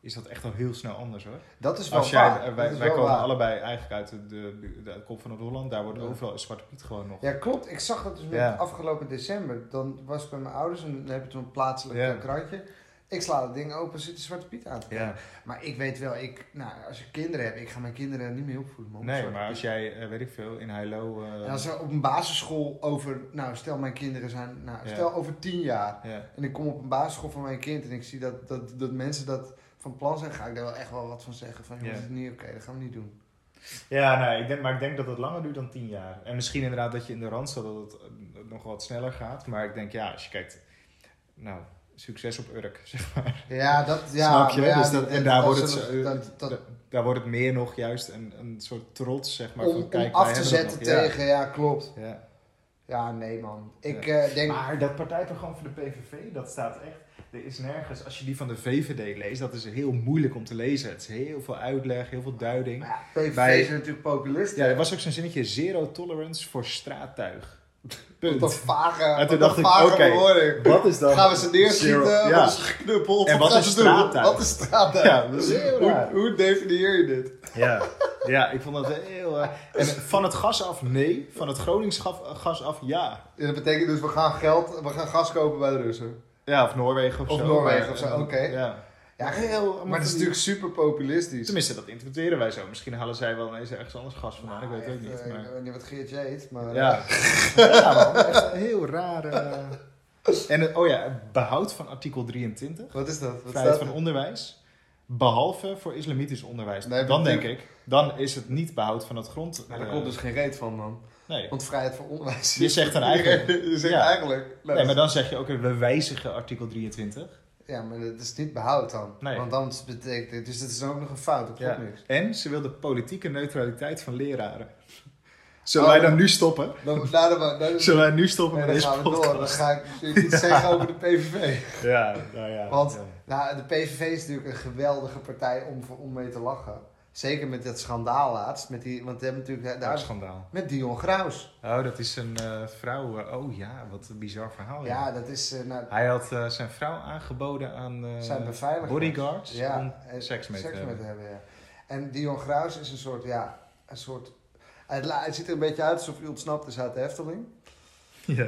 Speaker 3: is dat echt al heel snel anders hoor.
Speaker 2: Dat is wel
Speaker 3: Als jij,
Speaker 2: waar.
Speaker 3: eh,
Speaker 2: Dat
Speaker 3: wij
Speaker 2: is
Speaker 3: wij
Speaker 2: wel
Speaker 3: komen
Speaker 2: waar.
Speaker 3: allebei eigenlijk uit de, de, de kop van Noord-Holland. Daar wordt
Speaker 2: Ja.
Speaker 3: overal een Zwarte Piet gewoon nog.
Speaker 2: Ja, klopt. Ik zag dat dus met
Speaker 3: Ja.
Speaker 2: afgelopen december. Dan was ik bij mijn ouders en dan heb ik toen een plaatselijk
Speaker 3: Ja.
Speaker 2: eh, krantje. Ik sla dat ding open, zit de Zwarte Piet aan. te
Speaker 3: Ja.
Speaker 2: Maar ik weet wel, ik, nou, als ik kinderen heb, ik ga mijn kinderen niet meer opvoeden. man.
Speaker 3: Nee,
Speaker 2: Zwarte
Speaker 3: maar
Speaker 2: Piet.
Speaker 3: als jij, eh, weet ik veel, in Heilo... eh,
Speaker 2: En als er op een basisschool over, nou stel mijn kinderen zijn, nou
Speaker 3: Ja.
Speaker 2: stel over tien jaar.
Speaker 3: ja.
Speaker 2: En ik kom op een basisschool van mijn kind en ik zie dat, dat, dat mensen dat van plan zijn, ga ik daar wel echt wel wat van zeggen. Van, joh,
Speaker 3: Ja.
Speaker 2: dat is niet oké, dat gaan we niet doen.
Speaker 3: ja, nee, ik denk, maar ik denk dat het langer duurt dan tien jaar. En misschien inderdaad dat je in de Randstad dat het eh, nog wat sneller gaat. Maar ik denk, ja, als je kijkt... Nou, succes op Urk, [LAUGHS] zeg maar.
Speaker 2: Ja, dat, ja.
Speaker 3: Snap je?
Speaker 2: maar ja,
Speaker 3: dus dat,
Speaker 2: dat-
Speaker 3: en daar
Speaker 2: dat
Speaker 3: wordt, het,
Speaker 2: zullen-
Speaker 3: zo- eh,
Speaker 2: dat- dat-
Speaker 3: da- daar wordt het meer nog juist een, een soort trots, zeg maar.
Speaker 2: om,
Speaker 3: van,
Speaker 2: om
Speaker 3: kijk,
Speaker 2: af
Speaker 3: wij
Speaker 2: te
Speaker 3: hebben dat
Speaker 2: zetten
Speaker 3: nog. Ja,
Speaker 2: tegen, ja. klopt.
Speaker 3: Ja,
Speaker 2: Ja, nee man. Ik eh, denk,
Speaker 3: Maar dat partijprogramma van de PVV, dat staat echt... Er is nergens... Als je die van de VVD leest, dat is heel moeilijk om te lezen. Het is heel veel uitleg, heel veel duiding.
Speaker 2: ja, PVV
Speaker 3: Bij-
Speaker 2: is natuurlijk populist.
Speaker 3: Ja, er was ook zo'n zinnetje, zero tolerance voor straattuig.
Speaker 2: Wat een
Speaker 3: Punt.
Speaker 2: vage,
Speaker 3: toen
Speaker 2: wat een
Speaker 3: dacht ik,
Speaker 2: vage
Speaker 3: oké,
Speaker 2: bewoording.
Speaker 3: Wat is dan...
Speaker 2: Gaan we ze neerschieten?
Speaker 3: zero-
Speaker 2: Worden
Speaker 3: Ja.
Speaker 2: ze geknuppeld?
Speaker 3: En wat
Speaker 2: gaan
Speaker 3: is
Speaker 2: ze doen?
Speaker 3: straattuig?
Speaker 2: Wat is straattuig?
Speaker 3: Ja, dat is heel
Speaker 2: hoe,
Speaker 3: raar.
Speaker 2: hoe definieer je dit?
Speaker 3: Ja. ja, ik vond dat heel... eh, en van het gas af, nee. Van het Gronings gaf- gas af, ja.
Speaker 2: Ja, dat betekent dus we gaan geld, we gaan gas kopen bij de Russen.
Speaker 3: Ja, of Noorwegen of,
Speaker 2: Of
Speaker 3: zo.
Speaker 2: Noorwegen
Speaker 3: maar,
Speaker 2: of zo,
Speaker 3: eh,
Speaker 2: oké.
Speaker 3: Ja.
Speaker 2: Ja,
Speaker 3: heel...
Speaker 2: Maar het is natuurlijk super populistisch.
Speaker 3: Tenminste, dat interpreteren wij zo. Misschien halen zij wel ineens ergens anders gas vandaan, ik weet het ook
Speaker 2: Echt,
Speaker 3: niet.
Speaker 2: eh,
Speaker 3: Maar...
Speaker 2: Ik weet niet wat Geertje heet, maar... eh, [LAUGHS]
Speaker 3: Ja. ja, man. Echt een heel raar... eh. En het- oh ja, het behoud van artikel 23.
Speaker 2: eh, Wat is dat? Wat
Speaker 3: Vrijheid
Speaker 2: staat
Speaker 3: van
Speaker 2: er?
Speaker 3: onderwijs. Behalve voor islamitisch onderwijs.
Speaker 2: Nee,
Speaker 3: dan
Speaker 2: maar-
Speaker 3: denk ik, dan is het niet behoud van het grond...
Speaker 2: Nou, daar
Speaker 3: eh,
Speaker 2: komt dus geen reet van, man.
Speaker 3: Nee.
Speaker 2: Want vrijheid van onderwijs...
Speaker 3: Je zegt dan eigenlijk-
Speaker 2: [LAUGHS] je zegt
Speaker 3: Ja.
Speaker 2: eigenlijk... nou,
Speaker 3: nee, maar dan zeg je ook, eh, we wijzigen artikel 23.
Speaker 2: Ja, maar dat is niet behoud dan.
Speaker 3: Nee.
Speaker 2: Want dan betekent het... Dus dat is dan ook nog een fout, dat klopt
Speaker 3: Ja.
Speaker 2: niks.
Speaker 3: En ze wil de politieke neutraliteit van leraren. Zullen
Speaker 2: Oh,
Speaker 3: wij
Speaker 2: dat-
Speaker 3: dan nu stoppen?
Speaker 2: Dan, nou, dan, dan, dan,
Speaker 3: Zullen wij nu stoppen
Speaker 2: nee,
Speaker 3: met
Speaker 2: dan
Speaker 3: deze
Speaker 2: gaan we door. Dan
Speaker 3: podcast?
Speaker 2: ga ik natuurlijk
Speaker 3: [LAUGHS]
Speaker 2: iets zeggen over de PVV.
Speaker 3: Ja, nou ja.
Speaker 2: Want-
Speaker 3: ja.
Speaker 2: Nou, de PVV is natuurlijk een geweldige partij om, voor- om mee te lachen. Zeker met dat schandaal laatst. Met die, want we hebben natuurlijk...
Speaker 3: Daar
Speaker 2: Daar,
Speaker 3: schandaal.
Speaker 2: met Dion Graus.
Speaker 3: Oh, dat is een eh, vrouw. eh, oh ja, wat een bizar verhaal. ja.
Speaker 2: Ja, dat is eh, nou,
Speaker 3: Hij had eh, zijn vrouw aangeboden aan eh,
Speaker 2: zijn beveiligers.
Speaker 3: bodyguards
Speaker 2: Ja, eh,
Speaker 3: om
Speaker 2: en
Speaker 3: seks mee te hebben.
Speaker 2: ja. En Dion Graus is een soort, ja, een soort... Het, la- het ziet er een beetje uit alsof hij ontsnapt is uit de
Speaker 3: [LAUGHS]
Speaker 2: [LAUGHS] Hefteling.
Speaker 3: Ja.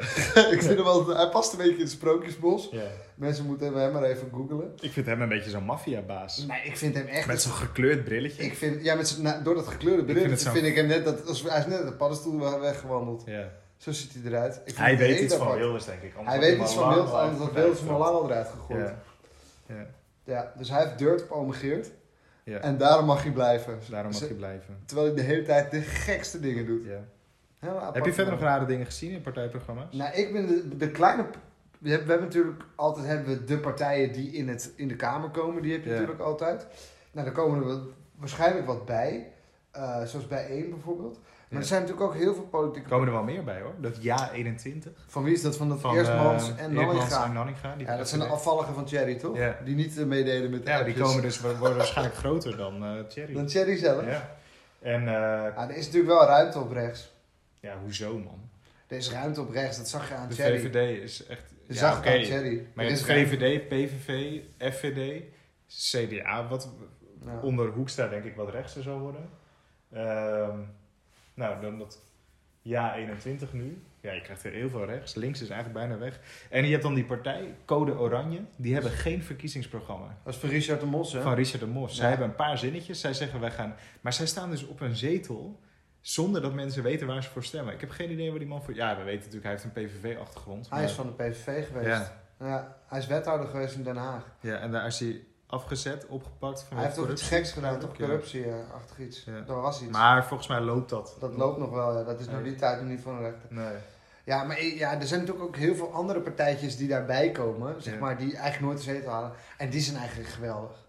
Speaker 2: ik vind hem wel, hij past een beetje in het sprookjesbos.
Speaker 3: ja.
Speaker 2: Mensen moeten hem maar even googlen.
Speaker 3: Ik vind hem een beetje zo'n maffiabaas.
Speaker 2: Maar ik vind hem echt...
Speaker 3: Met zo'n gekleurd brilletje.
Speaker 2: ik vind, ja, met z'n- nou, door dat gekleurde
Speaker 3: vind
Speaker 2: brilletje
Speaker 3: het zo-
Speaker 2: vind, ik hem net, dat, als, hij is net de paddenstoel we- weggewandeld.
Speaker 3: Ja.
Speaker 2: Zo ziet hij eruit. Ik vind
Speaker 3: Hij
Speaker 2: het
Speaker 3: weet
Speaker 2: heel
Speaker 3: iets van
Speaker 2: apart.
Speaker 3: Wilders, denk ik. Anders
Speaker 2: Hij
Speaker 3: had
Speaker 2: weet
Speaker 3: hem
Speaker 2: iets
Speaker 3: al
Speaker 2: van
Speaker 3: lang
Speaker 2: Wilders,
Speaker 3: al
Speaker 2: anders had
Speaker 3: uit-
Speaker 2: Wilders hem al lang al eruit gegooid.
Speaker 3: Ja. Ja.
Speaker 2: Ja, dus hij heeft dirt op Ome Geert.
Speaker 3: Ja.
Speaker 2: En daarom mag hij blijven.
Speaker 3: Dus Daarom mag
Speaker 2: Ze-
Speaker 3: hij blijven.
Speaker 2: Terwijl hij de hele tijd de gekste dingen doet.
Speaker 3: Ja.
Speaker 2: Helemaal apart.
Speaker 3: Heb je verder nog rare dingen gezien in partijprogramma's?
Speaker 2: Nou, ik ben de, de kleine... We hebben, we hebben natuurlijk altijd hebben we de partijen die in, het, in de Kamer komen. Die heb je
Speaker 3: Ja.
Speaker 2: natuurlijk altijd. Nou, daar komen er wel- waarschijnlijk wat bij. Eh, zoals bij één bijvoorbeeld. Maar
Speaker 3: Ja.
Speaker 2: er zijn natuurlijk ook heel veel
Speaker 3: Er
Speaker 2: politieke...
Speaker 3: komen er wel meer bij hoor. Dat Ja 21.
Speaker 2: Van wie is dat? Van dat
Speaker 3: Van,
Speaker 2: Eerstmans
Speaker 3: eh,
Speaker 2: en
Speaker 3: Eerdmans en
Speaker 2: Nanninga.
Speaker 3: Nanninga, die
Speaker 2: Ja, dat zijn de afvalligen van Thierry, toch?
Speaker 3: Ja.
Speaker 2: Die niet eh, meededen met de
Speaker 3: Ja, die
Speaker 2: appjes.
Speaker 3: komen dus, worden waarschijnlijk groter dan eh Thierry.
Speaker 2: Dan Thierry zelf.
Speaker 3: Ja. En eh,
Speaker 2: Ah, er is natuurlijk wel ruimte op rechts.
Speaker 3: ja, hoezo man?
Speaker 2: Er is ruimte op rechts, dat zag je aan
Speaker 3: De
Speaker 2: Thierry.
Speaker 3: VVD is echt...
Speaker 2: Je
Speaker 3: ja,
Speaker 2: zag
Speaker 3: oké.
Speaker 2: het aan Thierry.
Speaker 3: Maar
Speaker 2: Er
Speaker 3: je
Speaker 2: is
Speaker 3: hebt VVD, PVV, FVD, CDA, wat
Speaker 2: ruimte. Ja.
Speaker 3: onder Hoekstra denk ik wat rechtser zou worden. Ehm, nou, dan dat Ja 21 nu. Ja, je krijgt er heel veel rechts. Links is eigenlijk bijna weg. En je hebt dan die partij, Code Oranje. Die hebben geen verkiezingsprogramma.
Speaker 2: Dat is van Richard de Mos, hè?
Speaker 3: van Richard de Mos. Zij
Speaker 2: Ja.
Speaker 3: hebben een paar zinnetjes. Zij zeggen wij gaan. Maar zij staan dus op een zetel zonder dat mensen weten waar ze voor stemmen. Ik heb geen idee waar die man voor. Ja, we weten natuurlijk, hij heeft een PVV-achtergrond.
Speaker 2: Hij is van de PVV geweest. Ja.
Speaker 3: Ja,
Speaker 2: hij is wethouder geweest in Den Haag.
Speaker 3: ja, en daar is hij afgezet, opgepakt.
Speaker 2: hij heeft toch iets
Speaker 3: corruptie.
Speaker 2: geks gedaan, toch?
Speaker 3: Ja.
Speaker 2: Corruptie, eh, achtig iets.
Speaker 3: Ja.
Speaker 2: Daar was iets.
Speaker 3: Maar volgens mij loopt dat.
Speaker 2: dat loopt nog wel, ja. dat is
Speaker 3: Ja.
Speaker 2: nog die tijd nog niet van de rechter.
Speaker 3: Nee.
Speaker 2: Ja, maar eh, ja, er zijn natuurlijk ook heel veel andere partijtjes die daarbij komen, zeg
Speaker 3: Ja.
Speaker 2: maar, die eigenlijk nooit een zetel halen. En die zijn eigenlijk geweldig.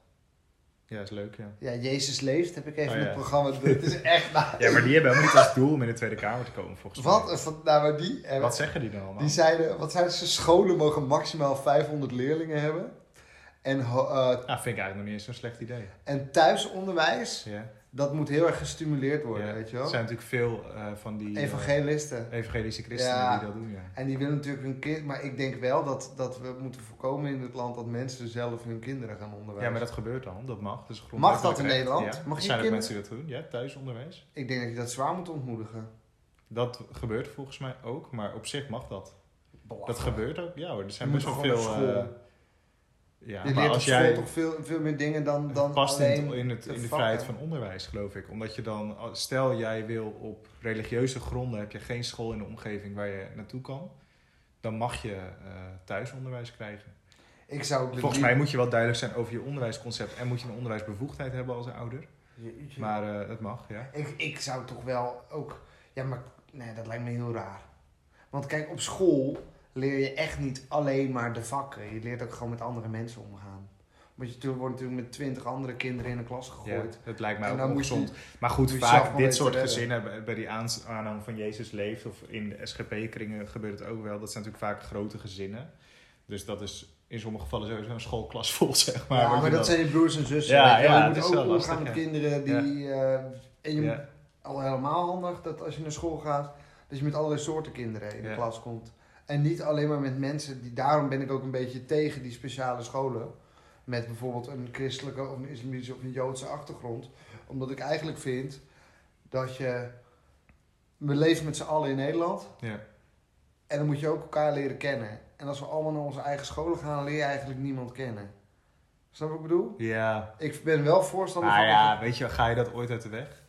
Speaker 3: Ja, is leuk, ja.
Speaker 2: Ja, Jezus leeft heb ik even
Speaker 3: Oh,
Speaker 2: in
Speaker 3: ja.
Speaker 2: het programma. [LAUGHS] Het is echt nou,
Speaker 3: Ja, maar die hebben helemaal niet als doel om in de Tweede Kamer te komen, volgens
Speaker 2: Wat
Speaker 3: mij.
Speaker 2: een van- nou, maar die, hebben-
Speaker 3: Wat zeggen die dan allemaal?
Speaker 2: die zeiden, wat zeiden ze? Scholen mogen maximaal 500 leerlingen hebben. En, ho- eh,
Speaker 3: Ah, vind ik eigenlijk nog niet eens zo'n slecht idee.
Speaker 2: en thuisonderwijs,
Speaker 3: Ja.
Speaker 2: dat moet heel erg gestimuleerd worden,
Speaker 3: Ja.
Speaker 2: weet je
Speaker 3: Er
Speaker 2: wel.
Speaker 3: zijn natuurlijk veel eh, van die eh,
Speaker 2: Evangelisten.
Speaker 3: evangelische christenen
Speaker 2: Ja.
Speaker 3: die dat doen, ja.
Speaker 2: En die willen natuurlijk hun kind, maar ik denk wel dat, dat we moeten voorkomen in het land dat mensen zelf hun kinderen gaan onderwijzen.
Speaker 3: Ja, maar dat gebeurt dan, dat mag. Dat is een
Speaker 2: Mag dat in
Speaker 3: grondwettelijk recht.
Speaker 2: Nederland?
Speaker 3: Ja.
Speaker 2: Mag je
Speaker 3: zijn ook
Speaker 2: kinderen-
Speaker 3: mensen die dat doen, ja, thuisonderwijs.
Speaker 2: Ik denk dat je dat zwaar moet ontmoedigen.
Speaker 3: Dat gebeurt volgens mij ook, maar op zich mag dat. Dat
Speaker 2: Belachelijk.
Speaker 3: gebeurt ook, ja hoor. Er zijn
Speaker 2: Je
Speaker 3: best
Speaker 2: moet
Speaker 3: wel veel...
Speaker 2: gewoon naar
Speaker 3: eh,
Speaker 2: school.
Speaker 3: ja,
Speaker 2: je
Speaker 3: maar
Speaker 2: leert op
Speaker 3: als
Speaker 2: school
Speaker 3: jij
Speaker 2: toch veel, veel meer dingen dan, dan
Speaker 3: Het past in,
Speaker 2: alleen...
Speaker 3: het- in, het,
Speaker 2: de
Speaker 3: in de
Speaker 2: vakken.
Speaker 3: vrijheid van onderwijs, geloof ik. Omdat je dan, als- stel jij wil op religieuze gronden, heb je geen school in de omgeving waar je naartoe kan. Dan mag je eh, thuisonderwijs krijgen.
Speaker 2: Ik zou het
Speaker 3: Volgens
Speaker 2: liever-
Speaker 3: mij moet je wel duidelijk zijn over je onderwijsconcept en moet je een onderwijsbevoegdheid hebben als ouder.
Speaker 2: Jeetje.
Speaker 3: Maar eh, het mag, ja.
Speaker 2: Ik, ik zou toch wel ook... Ja, maar nee, dat lijkt me heel raar. Want kijk, op school leer je echt niet alleen maar de vakken. Je leert ook gewoon met andere mensen omgaan. Want je tu- wordt natuurlijk met twintig andere kinderen in een klas
Speaker 3: ja
Speaker 2: gegooid.
Speaker 3: het lijkt mij
Speaker 2: En
Speaker 3: ook
Speaker 2: dan moet je-
Speaker 3: ongezond. Maar goed,
Speaker 2: moet je zelf
Speaker 3: vaak
Speaker 2: wel
Speaker 3: dit
Speaker 2: weten
Speaker 3: soort
Speaker 2: redden.
Speaker 3: gezinnen bij- bij die aans- aanhang van Jezus leeft of in de SGP-kringen gebeurt het ook wel. Dat zijn natuurlijk vaak grote gezinnen. Dus dat is in sommige gevallen sowieso een schoolklas vol, [LAUGHS] zeg maar.
Speaker 2: ja,
Speaker 3: wat je
Speaker 2: maar
Speaker 3: dan-
Speaker 2: dat zijn je broers en zussen.
Speaker 3: Ja,
Speaker 2: weet je wel.
Speaker 3: ja,
Speaker 2: je moet
Speaker 3: dat is
Speaker 2: ook
Speaker 3: wel
Speaker 2: omgaan
Speaker 3: lastig,
Speaker 2: met
Speaker 3: ja.
Speaker 2: kinderen die... eh, en je
Speaker 3: Ja.
Speaker 2: moet al helemaal handig dat als je naar school gaat... dat je met allerlei soorten kinderen in de
Speaker 3: Ja.
Speaker 2: klas komt. En niet alleen maar met mensen die... Daarom ben ik ook een beetje tegen die speciale scholen. Met bijvoorbeeld een christelijke of een islamitische of een joodse achtergrond. Omdat ik eigenlijk vind dat je... We leven met z'n allen in Nederland.
Speaker 3: Ja.
Speaker 2: En dan moet je ook elkaar leren kennen. En als we allemaal naar onze eigen scholen gaan, leer je eigenlijk niemand kennen. Snap wat ik bedoel?
Speaker 3: Ja,
Speaker 2: Ik ben wel voorstander
Speaker 3: maar
Speaker 2: van...
Speaker 3: Nou ja, weet je, ga je dat ooit uit de weg?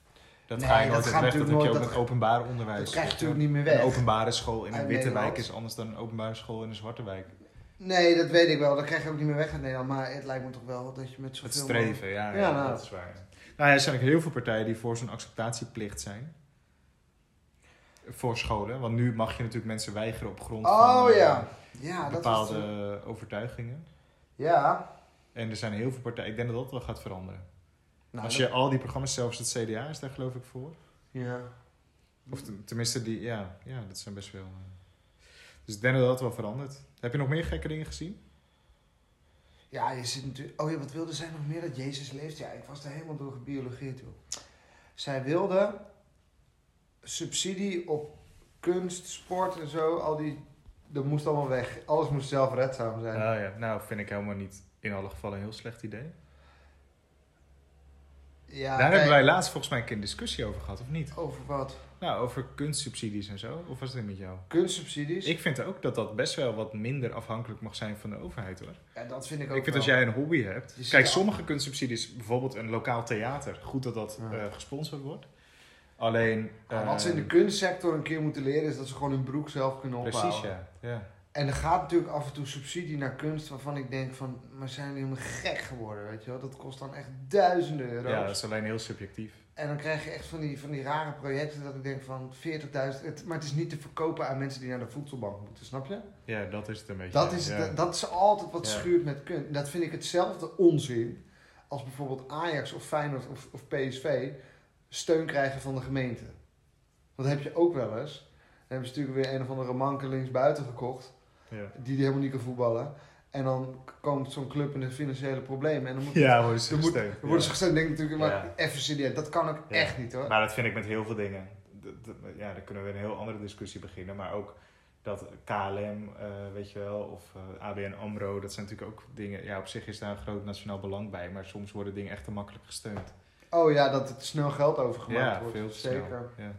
Speaker 3: Dat
Speaker 2: Nee,
Speaker 3: ga
Speaker 2: dat
Speaker 3: je nooit uit de
Speaker 2: gaat
Speaker 3: weg, dat
Speaker 2: natuurlijk
Speaker 3: heb je ook
Speaker 2: nooit-
Speaker 3: met openbaar onderwijs.
Speaker 2: dat krijg je
Speaker 3: Weet je wel.
Speaker 2: natuurlijk niet meer
Speaker 3: Een
Speaker 2: weg.
Speaker 3: openbare school in een
Speaker 2: Uit
Speaker 3: witte
Speaker 2: Nederland.
Speaker 3: wijk is anders dan een openbare school in een zwarte wijk.
Speaker 2: Nee, dat weet ik wel. Dat krijg je ook niet meer weg uit Nederland. Maar het lijkt me toch wel dat je met zoveel...
Speaker 3: Het streven, ja, ja,
Speaker 2: Ja, nou.
Speaker 3: dat is waar. ja. Nou ja, er zijn ook heel veel partijen die voor zo'n acceptatieplicht zijn. Voor scholen, want nu mag je natuurlijk mensen weigeren op grond van
Speaker 2: Oh
Speaker 3: eh,
Speaker 2: ja. Ja, dat was...
Speaker 3: bepaalde overtuigingen.
Speaker 2: Ja.
Speaker 3: En er zijn heel veel partijen, ik denk dat dat wel gaat veranderen.
Speaker 2: Nou,
Speaker 3: Als
Speaker 2: dat-
Speaker 3: je al die programma's, zelfs het CDA is daar geloof ik voor.
Speaker 2: Ja.
Speaker 3: Of ten- tenminste, die, ja, ja, dat zijn best veel. eh. Dus ik denk dat dat wel verandert. Heb je nog meer gekke dingen gezien?
Speaker 2: Ja, je zit natuurlijk... Oh ja, wat wilde zij nog meer? Dat Jezus leeft? Ja, ik was daar helemaal door gebiologeerd, joh. Zij wilde subsidie op kunst, sport en zo. Al die... Dat moest allemaal weg. Alles moest zelfredzaam zijn.
Speaker 3: Nou ja, nou vind ik helemaal niet in alle gevallen een heel slecht idee.
Speaker 2: Ja,
Speaker 3: Daar
Speaker 2: kijk,
Speaker 3: hebben wij laatst volgens mij een keer een discussie over gehad, of niet?
Speaker 2: Over wat?
Speaker 3: Nou, over kunstsubsidies en zo. Of was het met jou?
Speaker 2: Kunstsubsidies?
Speaker 3: Ik vind ook dat dat best wel wat minder afhankelijk mag zijn van de overheid hoor.
Speaker 2: Ja, dat vind ik ook
Speaker 3: Ik vind
Speaker 2: wel.
Speaker 3: als jij een hobby hebt.
Speaker 2: Je ziet
Speaker 3: Kijk,
Speaker 2: al-
Speaker 3: sommige kunstsubsidies, bijvoorbeeld een lokaal theater, goed dat dat
Speaker 2: Ja.
Speaker 3: eh, gesponsord wordt. Alleen.
Speaker 2: Ja, wat ze in de
Speaker 3: eh,
Speaker 2: kunstsector een keer moeten leren is dat ze gewoon hun broek zelf kunnen opbouwen.
Speaker 3: Precies, ja. ja.
Speaker 2: En er gaat natuurlijk af en toe subsidie naar kunst waarvan ik denk van, maar zijn jullie helemaal gek geworden, weet je wel? Dat kost dan echt duizenden euro's.
Speaker 3: Ja, dat is alleen heel subjectief.
Speaker 2: En dan krijg je echt van die, van die rare projecten dat ik denk van 40.000, het- maar het is niet te verkopen aan mensen die naar de voedselbank moeten, snap je?
Speaker 3: Ja, dat is het een beetje.
Speaker 2: Dat is,
Speaker 3: ja.
Speaker 2: dat, dat is altijd wat
Speaker 3: Ja.
Speaker 2: schuurt met kunst. Dat vind ik hetzelfde onzin als bijvoorbeeld Ajax of Feyenoord of, of PSV steun krijgen van de gemeente. Want dat heb je ook wel eens. Dan hebben ze natuurlijk weer een of andere manke linksbuiten gekocht
Speaker 3: Ja,
Speaker 2: die helemaal niet kan voetballen. En dan k- komt zo'n club in de financiële problemen en dan moet
Speaker 3: ja worden ze
Speaker 2: dan moet-
Speaker 3: gesteund,
Speaker 2: dan worden ze
Speaker 3: ja.
Speaker 2: gesteund. Denk ik natuurlijk, maar
Speaker 3: Ja.
Speaker 2: even serieus, dat kan ook
Speaker 3: Ja.
Speaker 2: echt niet hoor.
Speaker 3: Maar dat vind ik met heel veel dingen. Dat- dat- Ja, daar kunnen we een heel andere discussie beginnen. Maar ook dat KLM, eh, weet je wel, of eh, ABN AMRO, dat zijn natuurlijk ook dingen... Ja, op zich is daar een groot nationaal belang bij. Maar soms worden dingen echt te makkelijk gesteund.
Speaker 2: Oh ja, dat het snel geld overgemaakt
Speaker 3: ja,
Speaker 2: wordt.
Speaker 3: veel te
Speaker 2: Zeker.
Speaker 3: snel. Ja.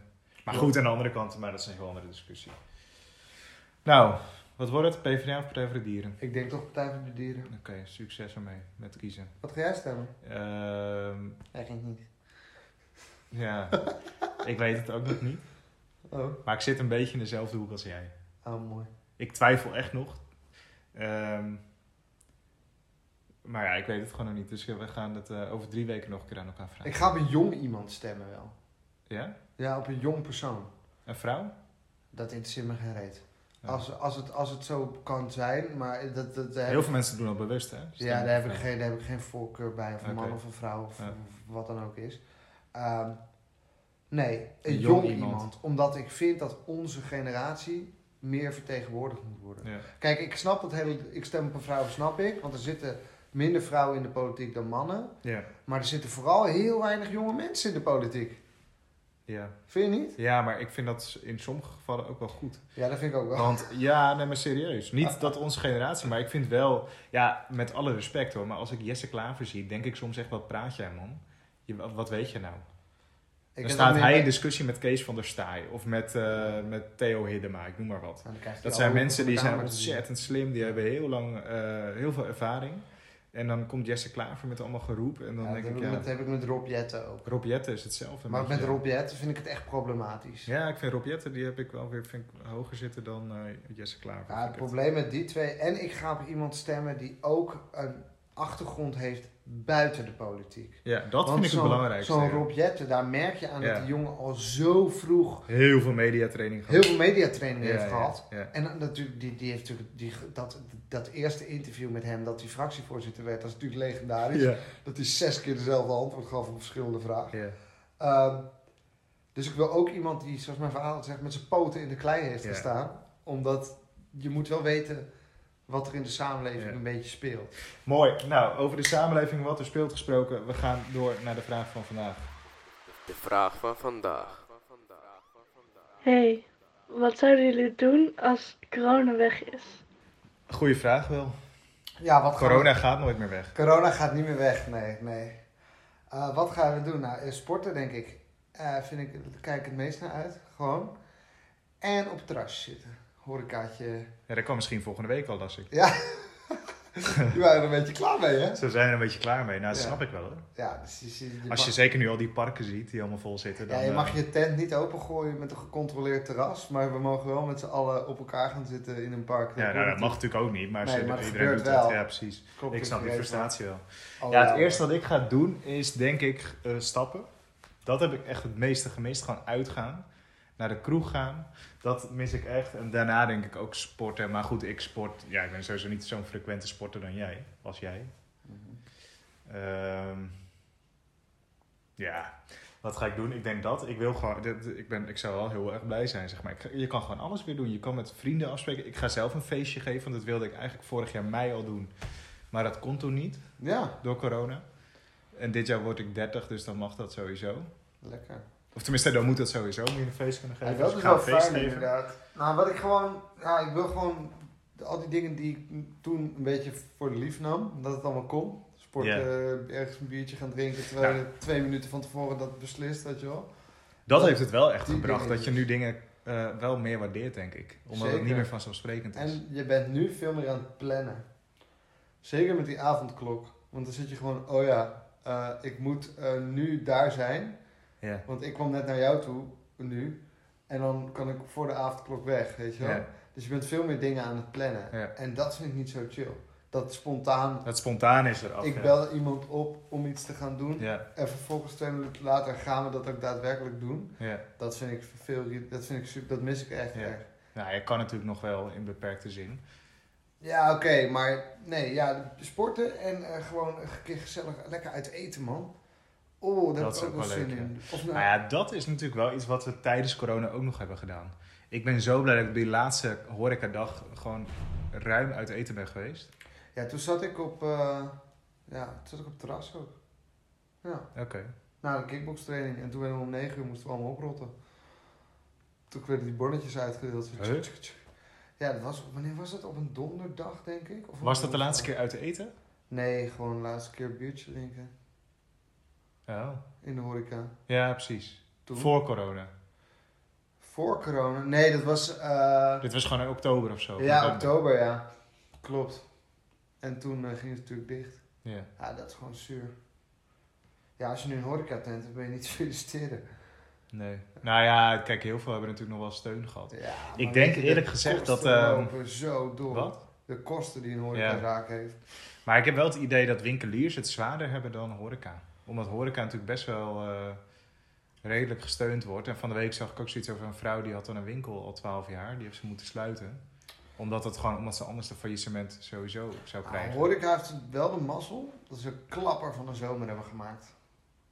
Speaker 3: Maar goed, aan de andere kant, maar dat is een heel andere discussie. Nou, wat wordt het? PvdA of Partij voor de Dieren?
Speaker 2: Ik denk toch Partij voor de Dieren.
Speaker 3: Oké, succes ermee met kiezen.
Speaker 2: Wat ga jij stemmen?
Speaker 3: Ehm,
Speaker 2: Eigenlijk niet.
Speaker 3: ja, [LAUGHS] ik weet het ook nog niet.
Speaker 2: Oh,
Speaker 3: Maar ik zit een beetje in dezelfde hoek als jij.
Speaker 2: oh mooi.
Speaker 3: Ik twijfel echt nog. Ehm, maar ja, ik weet het gewoon nog niet. Dus we gaan het eh, over drie weken nog een keer aan elkaar vragen.
Speaker 2: Ik ga op een jong iemand stemmen wel.
Speaker 3: Ja?
Speaker 2: Ja, op een jong persoon.
Speaker 3: Een vrouw?
Speaker 2: Dat interesseert me geen reet.
Speaker 3: Ja.
Speaker 2: Als, als, het, als het zo kan zijn, maar dat, dat daar heb
Speaker 3: Heel veel mensen doen dat bewust, hè?
Speaker 2: Ja, daar heb, ik
Speaker 3: Ja.
Speaker 2: geen, daar heb ik geen voorkeur bij, of een man
Speaker 3: Oké.
Speaker 2: of een vrouw, of
Speaker 3: Ja.
Speaker 2: of wat dan ook is. Ehm, nee, een
Speaker 3: Een
Speaker 2: jong,
Speaker 3: jong
Speaker 2: iemand.
Speaker 3: iemand.
Speaker 2: Omdat ik vind dat onze generatie meer vertegenwoordigd moet worden.
Speaker 3: Ja.
Speaker 2: Kijk, ik snap dat hele, ik stem op een vrouw, snap ik, want er zitten minder vrouwen in de politiek dan mannen.
Speaker 3: Ja.
Speaker 2: Maar er zitten vooral heel weinig jonge mensen in de politiek.
Speaker 3: Ja.
Speaker 2: Vind je niet?
Speaker 3: ja, maar ik vind dat in sommige gevallen ook wel goed.
Speaker 2: Ja, dat vind ik ook wel.
Speaker 3: Want ja, nee, maar serieus.
Speaker 2: Ah,
Speaker 3: Niet dat onze generatie, maar ik vind wel, ja, met alle respect hoor, maar als ik Jesse Klaver zie, denk ik soms echt, wat praat jij man? Je, wat wat weet je nou?
Speaker 2: Ik
Speaker 3: dan
Speaker 2: heb
Speaker 3: staat
Speaker 2: dat
Speaker 3: hij dus-
Speaker 2: meer-
Speaker 3: in discussie met Kees van der Staaij of met, eh, met Theo Hiddema, ik noem maar wat.
Speaker 2: Nou, dan krijg je
Speaker 3: Dat
Speaker 2: al
Speaker 3: zijn
Speaker 2: over
Speaker 3: mensen die
Speaker 2: elkaar
Speaker 3: zijn
Speaker 2: maar te zien.
Speaker 3: ontzettend slim, die hebben heel lang, eh, heel veel ervaring. En dan komt Jesse Klaver met allemaal geroep en dan
Speaker 2: Ja,
Speaker 3: denk
Speaker 2: dat
Speaker 3: ik,
Speaker 2: heb
Speaker 3: ja,
Speaker 2: met- heb ik met Rob Jetten ook.
Speaker 3: Rob Jetten is hetzelfde. een
Speaker 2: Maar
Speaker 3: beetje.
Speaker 2: met Rob Jetten vind ik het echt problematisch.
Speaker 3: Ja, ik vind Rob Jetten, die heb ik wel weer vind ik, hoger zitten dan eh, Jesse Klaver.
Speaker 2: Ja,
Speaker 3: vind
Speaker 2: het
Speaker 3: ik het.
Speaker 2: probleem met die twee. En ik ga op iemand stemmen die ook een achtergrond heeft buiten de politiek.
Speaker 3: Ja, dat
Speaker 2: Want
Speaker 3: vind ik het
Speaker 2: zo'n-
Speaker 3: belangrijkste.
Speaker 2: Zo'n
Speaker 3: ja.
Speaker 2: Rob Jetten, daar merk je aan dat
Speaker 3: Ja.
Speaker 2: die jongen al zo vroeg
Speaker 3: Heel veel mediatraining
Speaker 2: heel
Speaker 3: gehad.
Speaker 2: veel mediatraining heeft gehad.
Speaker 3: Ja, ja.
Speaker 2: En dan natuurlijk, die, die heeft natuurlijk die, dat, dat eerste interview met hem, dat hij fractievoorzitter werd, dat is natuurlijk legendarisch.
Speaker 3: Ja.
Speaker 2: Dat hij zes keer dezelfde antwoord gaf op verschillende vragen.
Speaker 3: Ja.
Speaker 2: Ehm, dus ik wil ook iemand die, zoals mijn verhaal zegt, met zijn poten in de klei heeft
Speaker 3: Ja.
Speaker 2: gestaan. Omdat je moet wel weten wat er in de samenleving
Speaker 3: Ja.
Speaker 2: een beetje speelt.
Speaker 3: Mooi. Nou, over de samenleving wat er speelt gesproken. We gaan door naar de vraag van vandaag.
Speaker 1: De vraag van vandaag.
Speaker 4: Hey, wat zouden jullie doen als corona weg is?
Speaker 3: Goeie vraag wel.
Speaker 2: Ja, wat gaan we-
Speaker 3: Corona gaat nooit meer weg.
Speaker 2: Corona gaat niet meer weg, nee, nee. Eh, wat gaan we doen? Nou, eh, sporten denk ik. Eh, vind ik, daar kijk ik het meest naar uit, gewoon. En op het terrasje zitten.
Speaker 3: [LAUGHS]
Speaker 2: Horecaatje.
Speaker 3: Ja, dat kan misschien volgende week al, las ik.
Speaker 2: Ja, je waren er een beetje klaar mee, hè?
Speaker 3: Ze zijn er een beetje klaar mee. Nou, dat
Speaker 2: Ja.
Speaker 3: snap ik wel hoor.
Speaker 2: Ja, dus je, je, je
Speaker 3: Als je
Speaker 2: mag-
Speaker 3: zeker nu al die parken ziet die allemaal vol zitten. Dan,
Speaker 2: ja, je
Speaker 3: eh,
Speaker 2: mag je tent niet opengooien met een gecontroleerd terras, maar we mogen wel met z'n allen op elkaar gaan zitten in een park.
Speaker 3: ja, nou, dat mag
Speaker 2: klopt
Speaker 3: natuurlijk ook niet, maar,
Speaker 2: Nee,
Speaker 3: ze-
Speaker 2: maar het
Speaker 3: iedereen
Speaker 2: gebeurt
Speaker 3: doet dat.
Speaker 2: wel.
Speaker 3: Ja, precies.
Speaker 2: natuurlijk.
Speaker 3: Ik snap die
Speaker 2: Iedereen
Speaker 3: frustratie wel.
Speaker 2: van-
Speaker 3: Ja, het
Speaker 2: Alhoewel.
Speaker 3: eerste wat ik ga doen is denk ik eh, stappen. Dat heb ik echt het meeste gemist. Gewoon uitgaan. Naar de kroeg gaan. Dat mis ik echt. En daarna denk ik ook sporten. Maar goed, ik sport. Ja, ik ben sowieso niet zo'n frequente sporter dan jij. Als jij. Ehm, ja. Wat ga ik doen? Ik denk dat. Ik wil gewoon. dit- ik, ben, ik zou wel heel erg blij zijn, zeg maar. Ik ga- je kan gewoon alles weer doen. Je kan met vrienden afspreken. Ik ga zelf een feestje geven. Want dat wilde ik eigenlijk vorig jaar mei al doen. Maar dat kon toen niet
Speaker 2: Ja,
Speaker 3: door corona. En dit jaar word ik 30, dus dan mag dat sowieso.
Speaker 2: lekker.
Speaker 3: Of tenminste, dan moet dat sowieso. Moet je een feest kunnen
Speaker 2: Ja,
Speaker 3: geven.
Speaker 2: dat
Speaker 3: Dus
Speaker 2: is
Speaker 3: ik ga
Speaker 2: wel
Speaker 3: een
Speaker 2: fijn inderdaad. Nou, wat ik gewoon... Ja, ik wil gewoon al die dingen die ik toen een beetje voor de lief nam, dat het allemaal kon. Sporten,
Speaker 3: Ja.
Speaker 2: eh, ergens een biertje gaan drinken, terwijl je twee minuten van tevoren dat beslist, weet je wel.
Speaker 3: Dat heeft het wel echt
Speaker 2: Die
Speaker 3: gebracht.
Speaker 2: dingen dus.
Speaker 3: Dat je nu dingen eh, wel meer waardeert, denk ik. Omdat het
Speaker 2: Zeker.
Speaker 3: niet meer vanzelfsprekend is.
Speaker 2: En je bent nu veel meer aan het plannen. Zeker met die avondklok. Want dan zit je gewoon, oh ja, eh, ik moet eh, nu daar zijn.
Speaker 3: Ja.
Speaker 2: Want ik kwam net naar jou toe, nu. En dan kan ik voor de avondklok weg, weet je wel.
Speaker 3: Ja.
Speaker 2: Dus je bent veel meer dingen aan het plannen.
Speaker 3: Ja.
Speaker 2: En dat vind ik niet zo chill. Dat spontaan,
Speaker 3: Het spontaan is eraf.
Speaker 2: ik
Speaker 3: ja.
Speaker 2: bel iemand op om iets te gaan doen.
Speaker 3: Ja,
Speaker 2: En vervolgens twee minuten later gaan we dat ook daadwerkelijk doen.
Speaker 3: ja.
Speaker 2: Dat vind ik veel, dat vind ik super, dat mis ik echt
Speaker 3: Ja.
Speaker 2: erg.
Speaker 3: Nou, je kan natuurlijk nog wel in beperkte zin.
Speaker 2: Ja, oké, maar nee, ja, sporten en eh, gewoon een keer gezellig lekker uit eten, man. Oh, daar
Speaker 3: Dat
Speaker 2: heb
Speaker 3: is
Speaker 2: ik ook
Speaker 3: ook
Speaker 2: wel
Speaker 3: wel
Speaker 2: zin
Speaker 3: leuk,
Speaker 2: in. Of nou,
Speaker 3: Nou ja, dat is natuurlijk wel iets wat we tijdens corona ook nog hebben gedaan. Ik ben zo blij dat ik die laatste horecadag gewoon ruim uit eten ben geweest.
Speaker 2: ja, toen zat ik op, eh, ja, toen zat ik op het terras ook. Ja,
Speaker 3: Oké.
Speaker 2: na de kickbokstraining. En toen werden we om 9 uur, moesten we allemaal oprotten. Toen werden die bonnetjes uitgedeeld. Zo,
Speaker 3: Huh?
Speaker 2: tjuk, tjuk. Ja, dat was, op- wanneer was dat? Op een donderdag, denk ik? Of op
Speaker 3: Was
Speaker 2: een
Speaker 3: dat de laatste
Speaker 2: woensdag?
Speaker 3: keer uit eten?
Speaker 2: Nee, gewoon de laatste keer een biertje drinken
Speaker 3: Oh.
Speaker 2: in de horeca.
Speaker 3: Ja, precies.
Speaker 2: Toen.
Speaker 3: Voor corona.
Speaker 2: Voor corona? Nee, dat was... eh,
Speaker 3: Dit was gewoon in oktober of zo.
Speaker 2: Ja,
Speaker 3: November.
Speaker 2: oktober, ja. Klopt. En toen eh, ging het natuurlijk dicht.
Speaker 3: Ja.
Speaker 2: Ja, dat is gewoon zuur. Ja, als je nu een horecatent hebt, ben je niet te feliciteren.
Speaker 3: Nee. Nou ja, kijk, heel veel hebben natuurlijk nog wel steun gehad.
Speaker 2: Ja,
Speaker 3: Ik
Speaker 2: maar
Speaker 3: denk
Speaker 2: weet je, de
Speaker 3: eerlijk gezegd dat,
Speaker 2: kosten
Speaker 3: ehm,
Speaker 2: lopen zo door.
Speaker 3: Wat?
Speaker 2: De kosten die een
Speaker 3: Ja.
Speaker 2: horecazaak heeft.
Speaker 3: Maar ik heb wel het idee dat winkeliers het zwaarder hebben dan horeca. Omdat horeca natuurlijk best wel eh, redelijk gesteund wordt. En van de week zag ik ook zoiets over een vrouw die had dan een winkel al 12 jaar. Die heeft ze moeten sluiten. Omdat, het gewoon, omdat ze anders een faillissement sowieso zou
Speaker 2: Nou,
Speaker 3: krijgen.
Speaker 2: horeca heeft wel de mazzel dat ze een klapper van de zomer hebben gemaakt.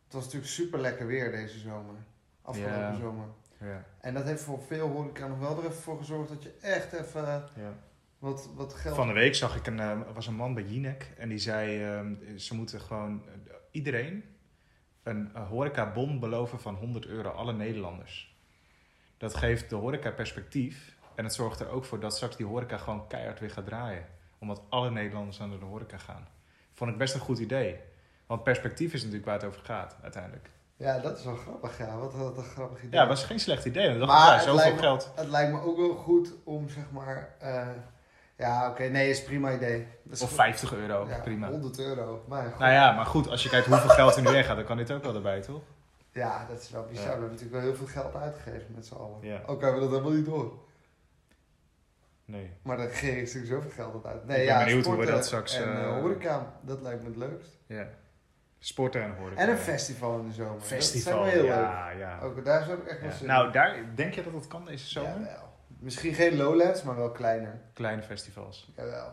Speaker 2: Het was natuurlijk super lekker weer deze zomer. Afgelopen
Speaker 3: Ja.
Speaker 2: zomer.
Speaker 3: Ja,
Speaker 2: En dat heeft voor veel horeca nog wel er even voor gezorgd dat je echt even
Speaker 3: ja.
Speaker 2: wat, wat geld...
Speaker 3: Van de week zag ik een, eh, was een man bij Jinek en die zei: ehm, ze moeten gewoon eh, iedereen een eh, horecabon beloven van 100 euro, alle Nederlanders. Dat geeft de horeca perspectief en het zorgt er ook voor dat straks die horeca gewoon keihard weer gaat draaien, omdat alle Nederlanders naar de horeca gaan. Vond ik best een goed idee, want perspectief is natuurlijk waar het over gaat uiteindelijk.
Speaker 2: Ja, dat is wel grappig, ja. Wat, wat een grappig idee.
Speaker 3: Ja, was geen slecht idee. want Dan dacht
Speaker 2: Maar
Speaker 3: ik, ja,
Speaker 2: het
Speaker 3: zoveel
Speaker 2: lijkt me-
Speaker 3: geld.
Speaker 2: Het lijkt me ook wel goed om, zeg maar... eh, ja, oké, nee, is een prima idee. Dat is
Speaker 3: Of
Speaker 2: goed.
Speaker 3: 50 euro,
Speaker 2: Ja,
Speaker 3: prima.
Speaker 2: 100 euro. Maar ja, goed.
Speaker 3: Nou ja, maar goed, als je kijkt hoeveel geld er nu weggaat, dan kan dit ook wel erbij, toch?
Speaker 2: Ja, dat is wel bizar.
Speaker 3: Ja.
Speaker 2: We hebben natuurlijk wel heel veel geld uitgegeven met z'n allen.
Speaker 3: Ja.
Speaker 2: Ook hebben we dat helemaal niet door.
Speaker 3: Nee.
Speaker 2: Maar de regering is natuurlijk zoveel geld aan uit.
Speaker 3: Ik
Speaker 2: Nee,
Speaker 3: ben
Speaker 2: ja,
Speaker 3: benieuwd hoe we
Speaker 2: sporten
Speaker 3: dat straks,
Speaker 2: En
Speaker 3: eh,
Speaker 2: eh, horeca, dat lijkt me het leukst.
Speaker 3: Ja. Sporten en horeca.
Speaker 2: En een festival in de zomer.
Speaker 3: Festival,
Speaker 2: Dat zijn wel heel
Speaker 3: ja, ja.
Speaker 2: leuk. Ook daar zou ik echt wel
Speaker 3: Ja.
Speaker 2: zin
Speaker 3: Nou,
Speaker 2: in.
Speaker 3: daar denk je dat dat kan deze zomer?
Speaker 2: Jawel. Misschien geen Lowlands, maar wel kleiner.
Speaker 3: Kleine festivals.
Speaker 2: Jawel.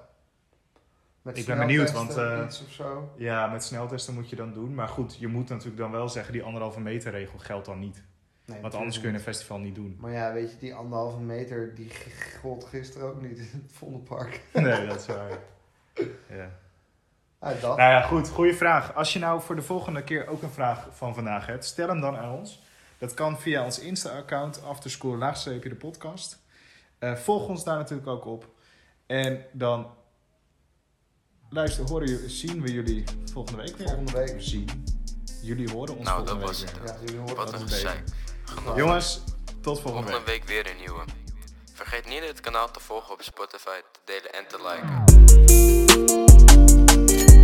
Speaker 2: Met
Speaker 3: Ik ben benieuwd, want,
Speaker 2: sneltesten,
Speaker 3: eh,
Speaker 2: iets of zo.
Speaker 3: Ja, met sneltesten moet je dan doen. Maar goed, je moet natuurlijk dan wel zeggen, die anderhalve meter regel geldt dan niet.
Speaker 2: Nee,
Speaker 3: Want anders kun je een festival niet doen.
Speaker 2: Maar ja, weet je, die anderhalve meter, die g- gold gisteren ook niet in het Vondelpark.
Speaker 3: [LAUGHS] Nee, [LAUGHS] dat is waar. Ja.
Speaker 2: Uit Ah, dat.
Speaker 3: Nou ja, goed. Goeie vraag. Als je nou voor de volgende keer ook een vraag van vandaag hebt, stel hem dan aan ons. Dat kan via ons Insta-account, afterscore laagstreepje de podcast. Eh, volg ons daar natuurlijk ook op. En dan luister, horen, jullie- zien we jullie volgende week weer.
Speaker 2: Volgende week.
Speaker 3: Zien. Jullie horen ons
Speaker 1: Nou, dat
Speaker 3: volgende
Speaker 1: was
Speaker 3: week
Speaker 1: het.
Speaker 3: weer.
Speaker 2: Ja, jullie horen
Speaker 1: Wat
Speaker 2: het.
Speaker 3: een
Speaker 1: een
Speaker 3: beetje.
Speaker 1: gezeik.
Speaker 2: Nou,
Speaker 3: Jongens, tot volgende
Speaker 1: Volgende
Speaker 3: week.
Speaker 1: week weer een nieuwe. Vergeet niet het kanaal te volgen op Spotify, te delen en te liken.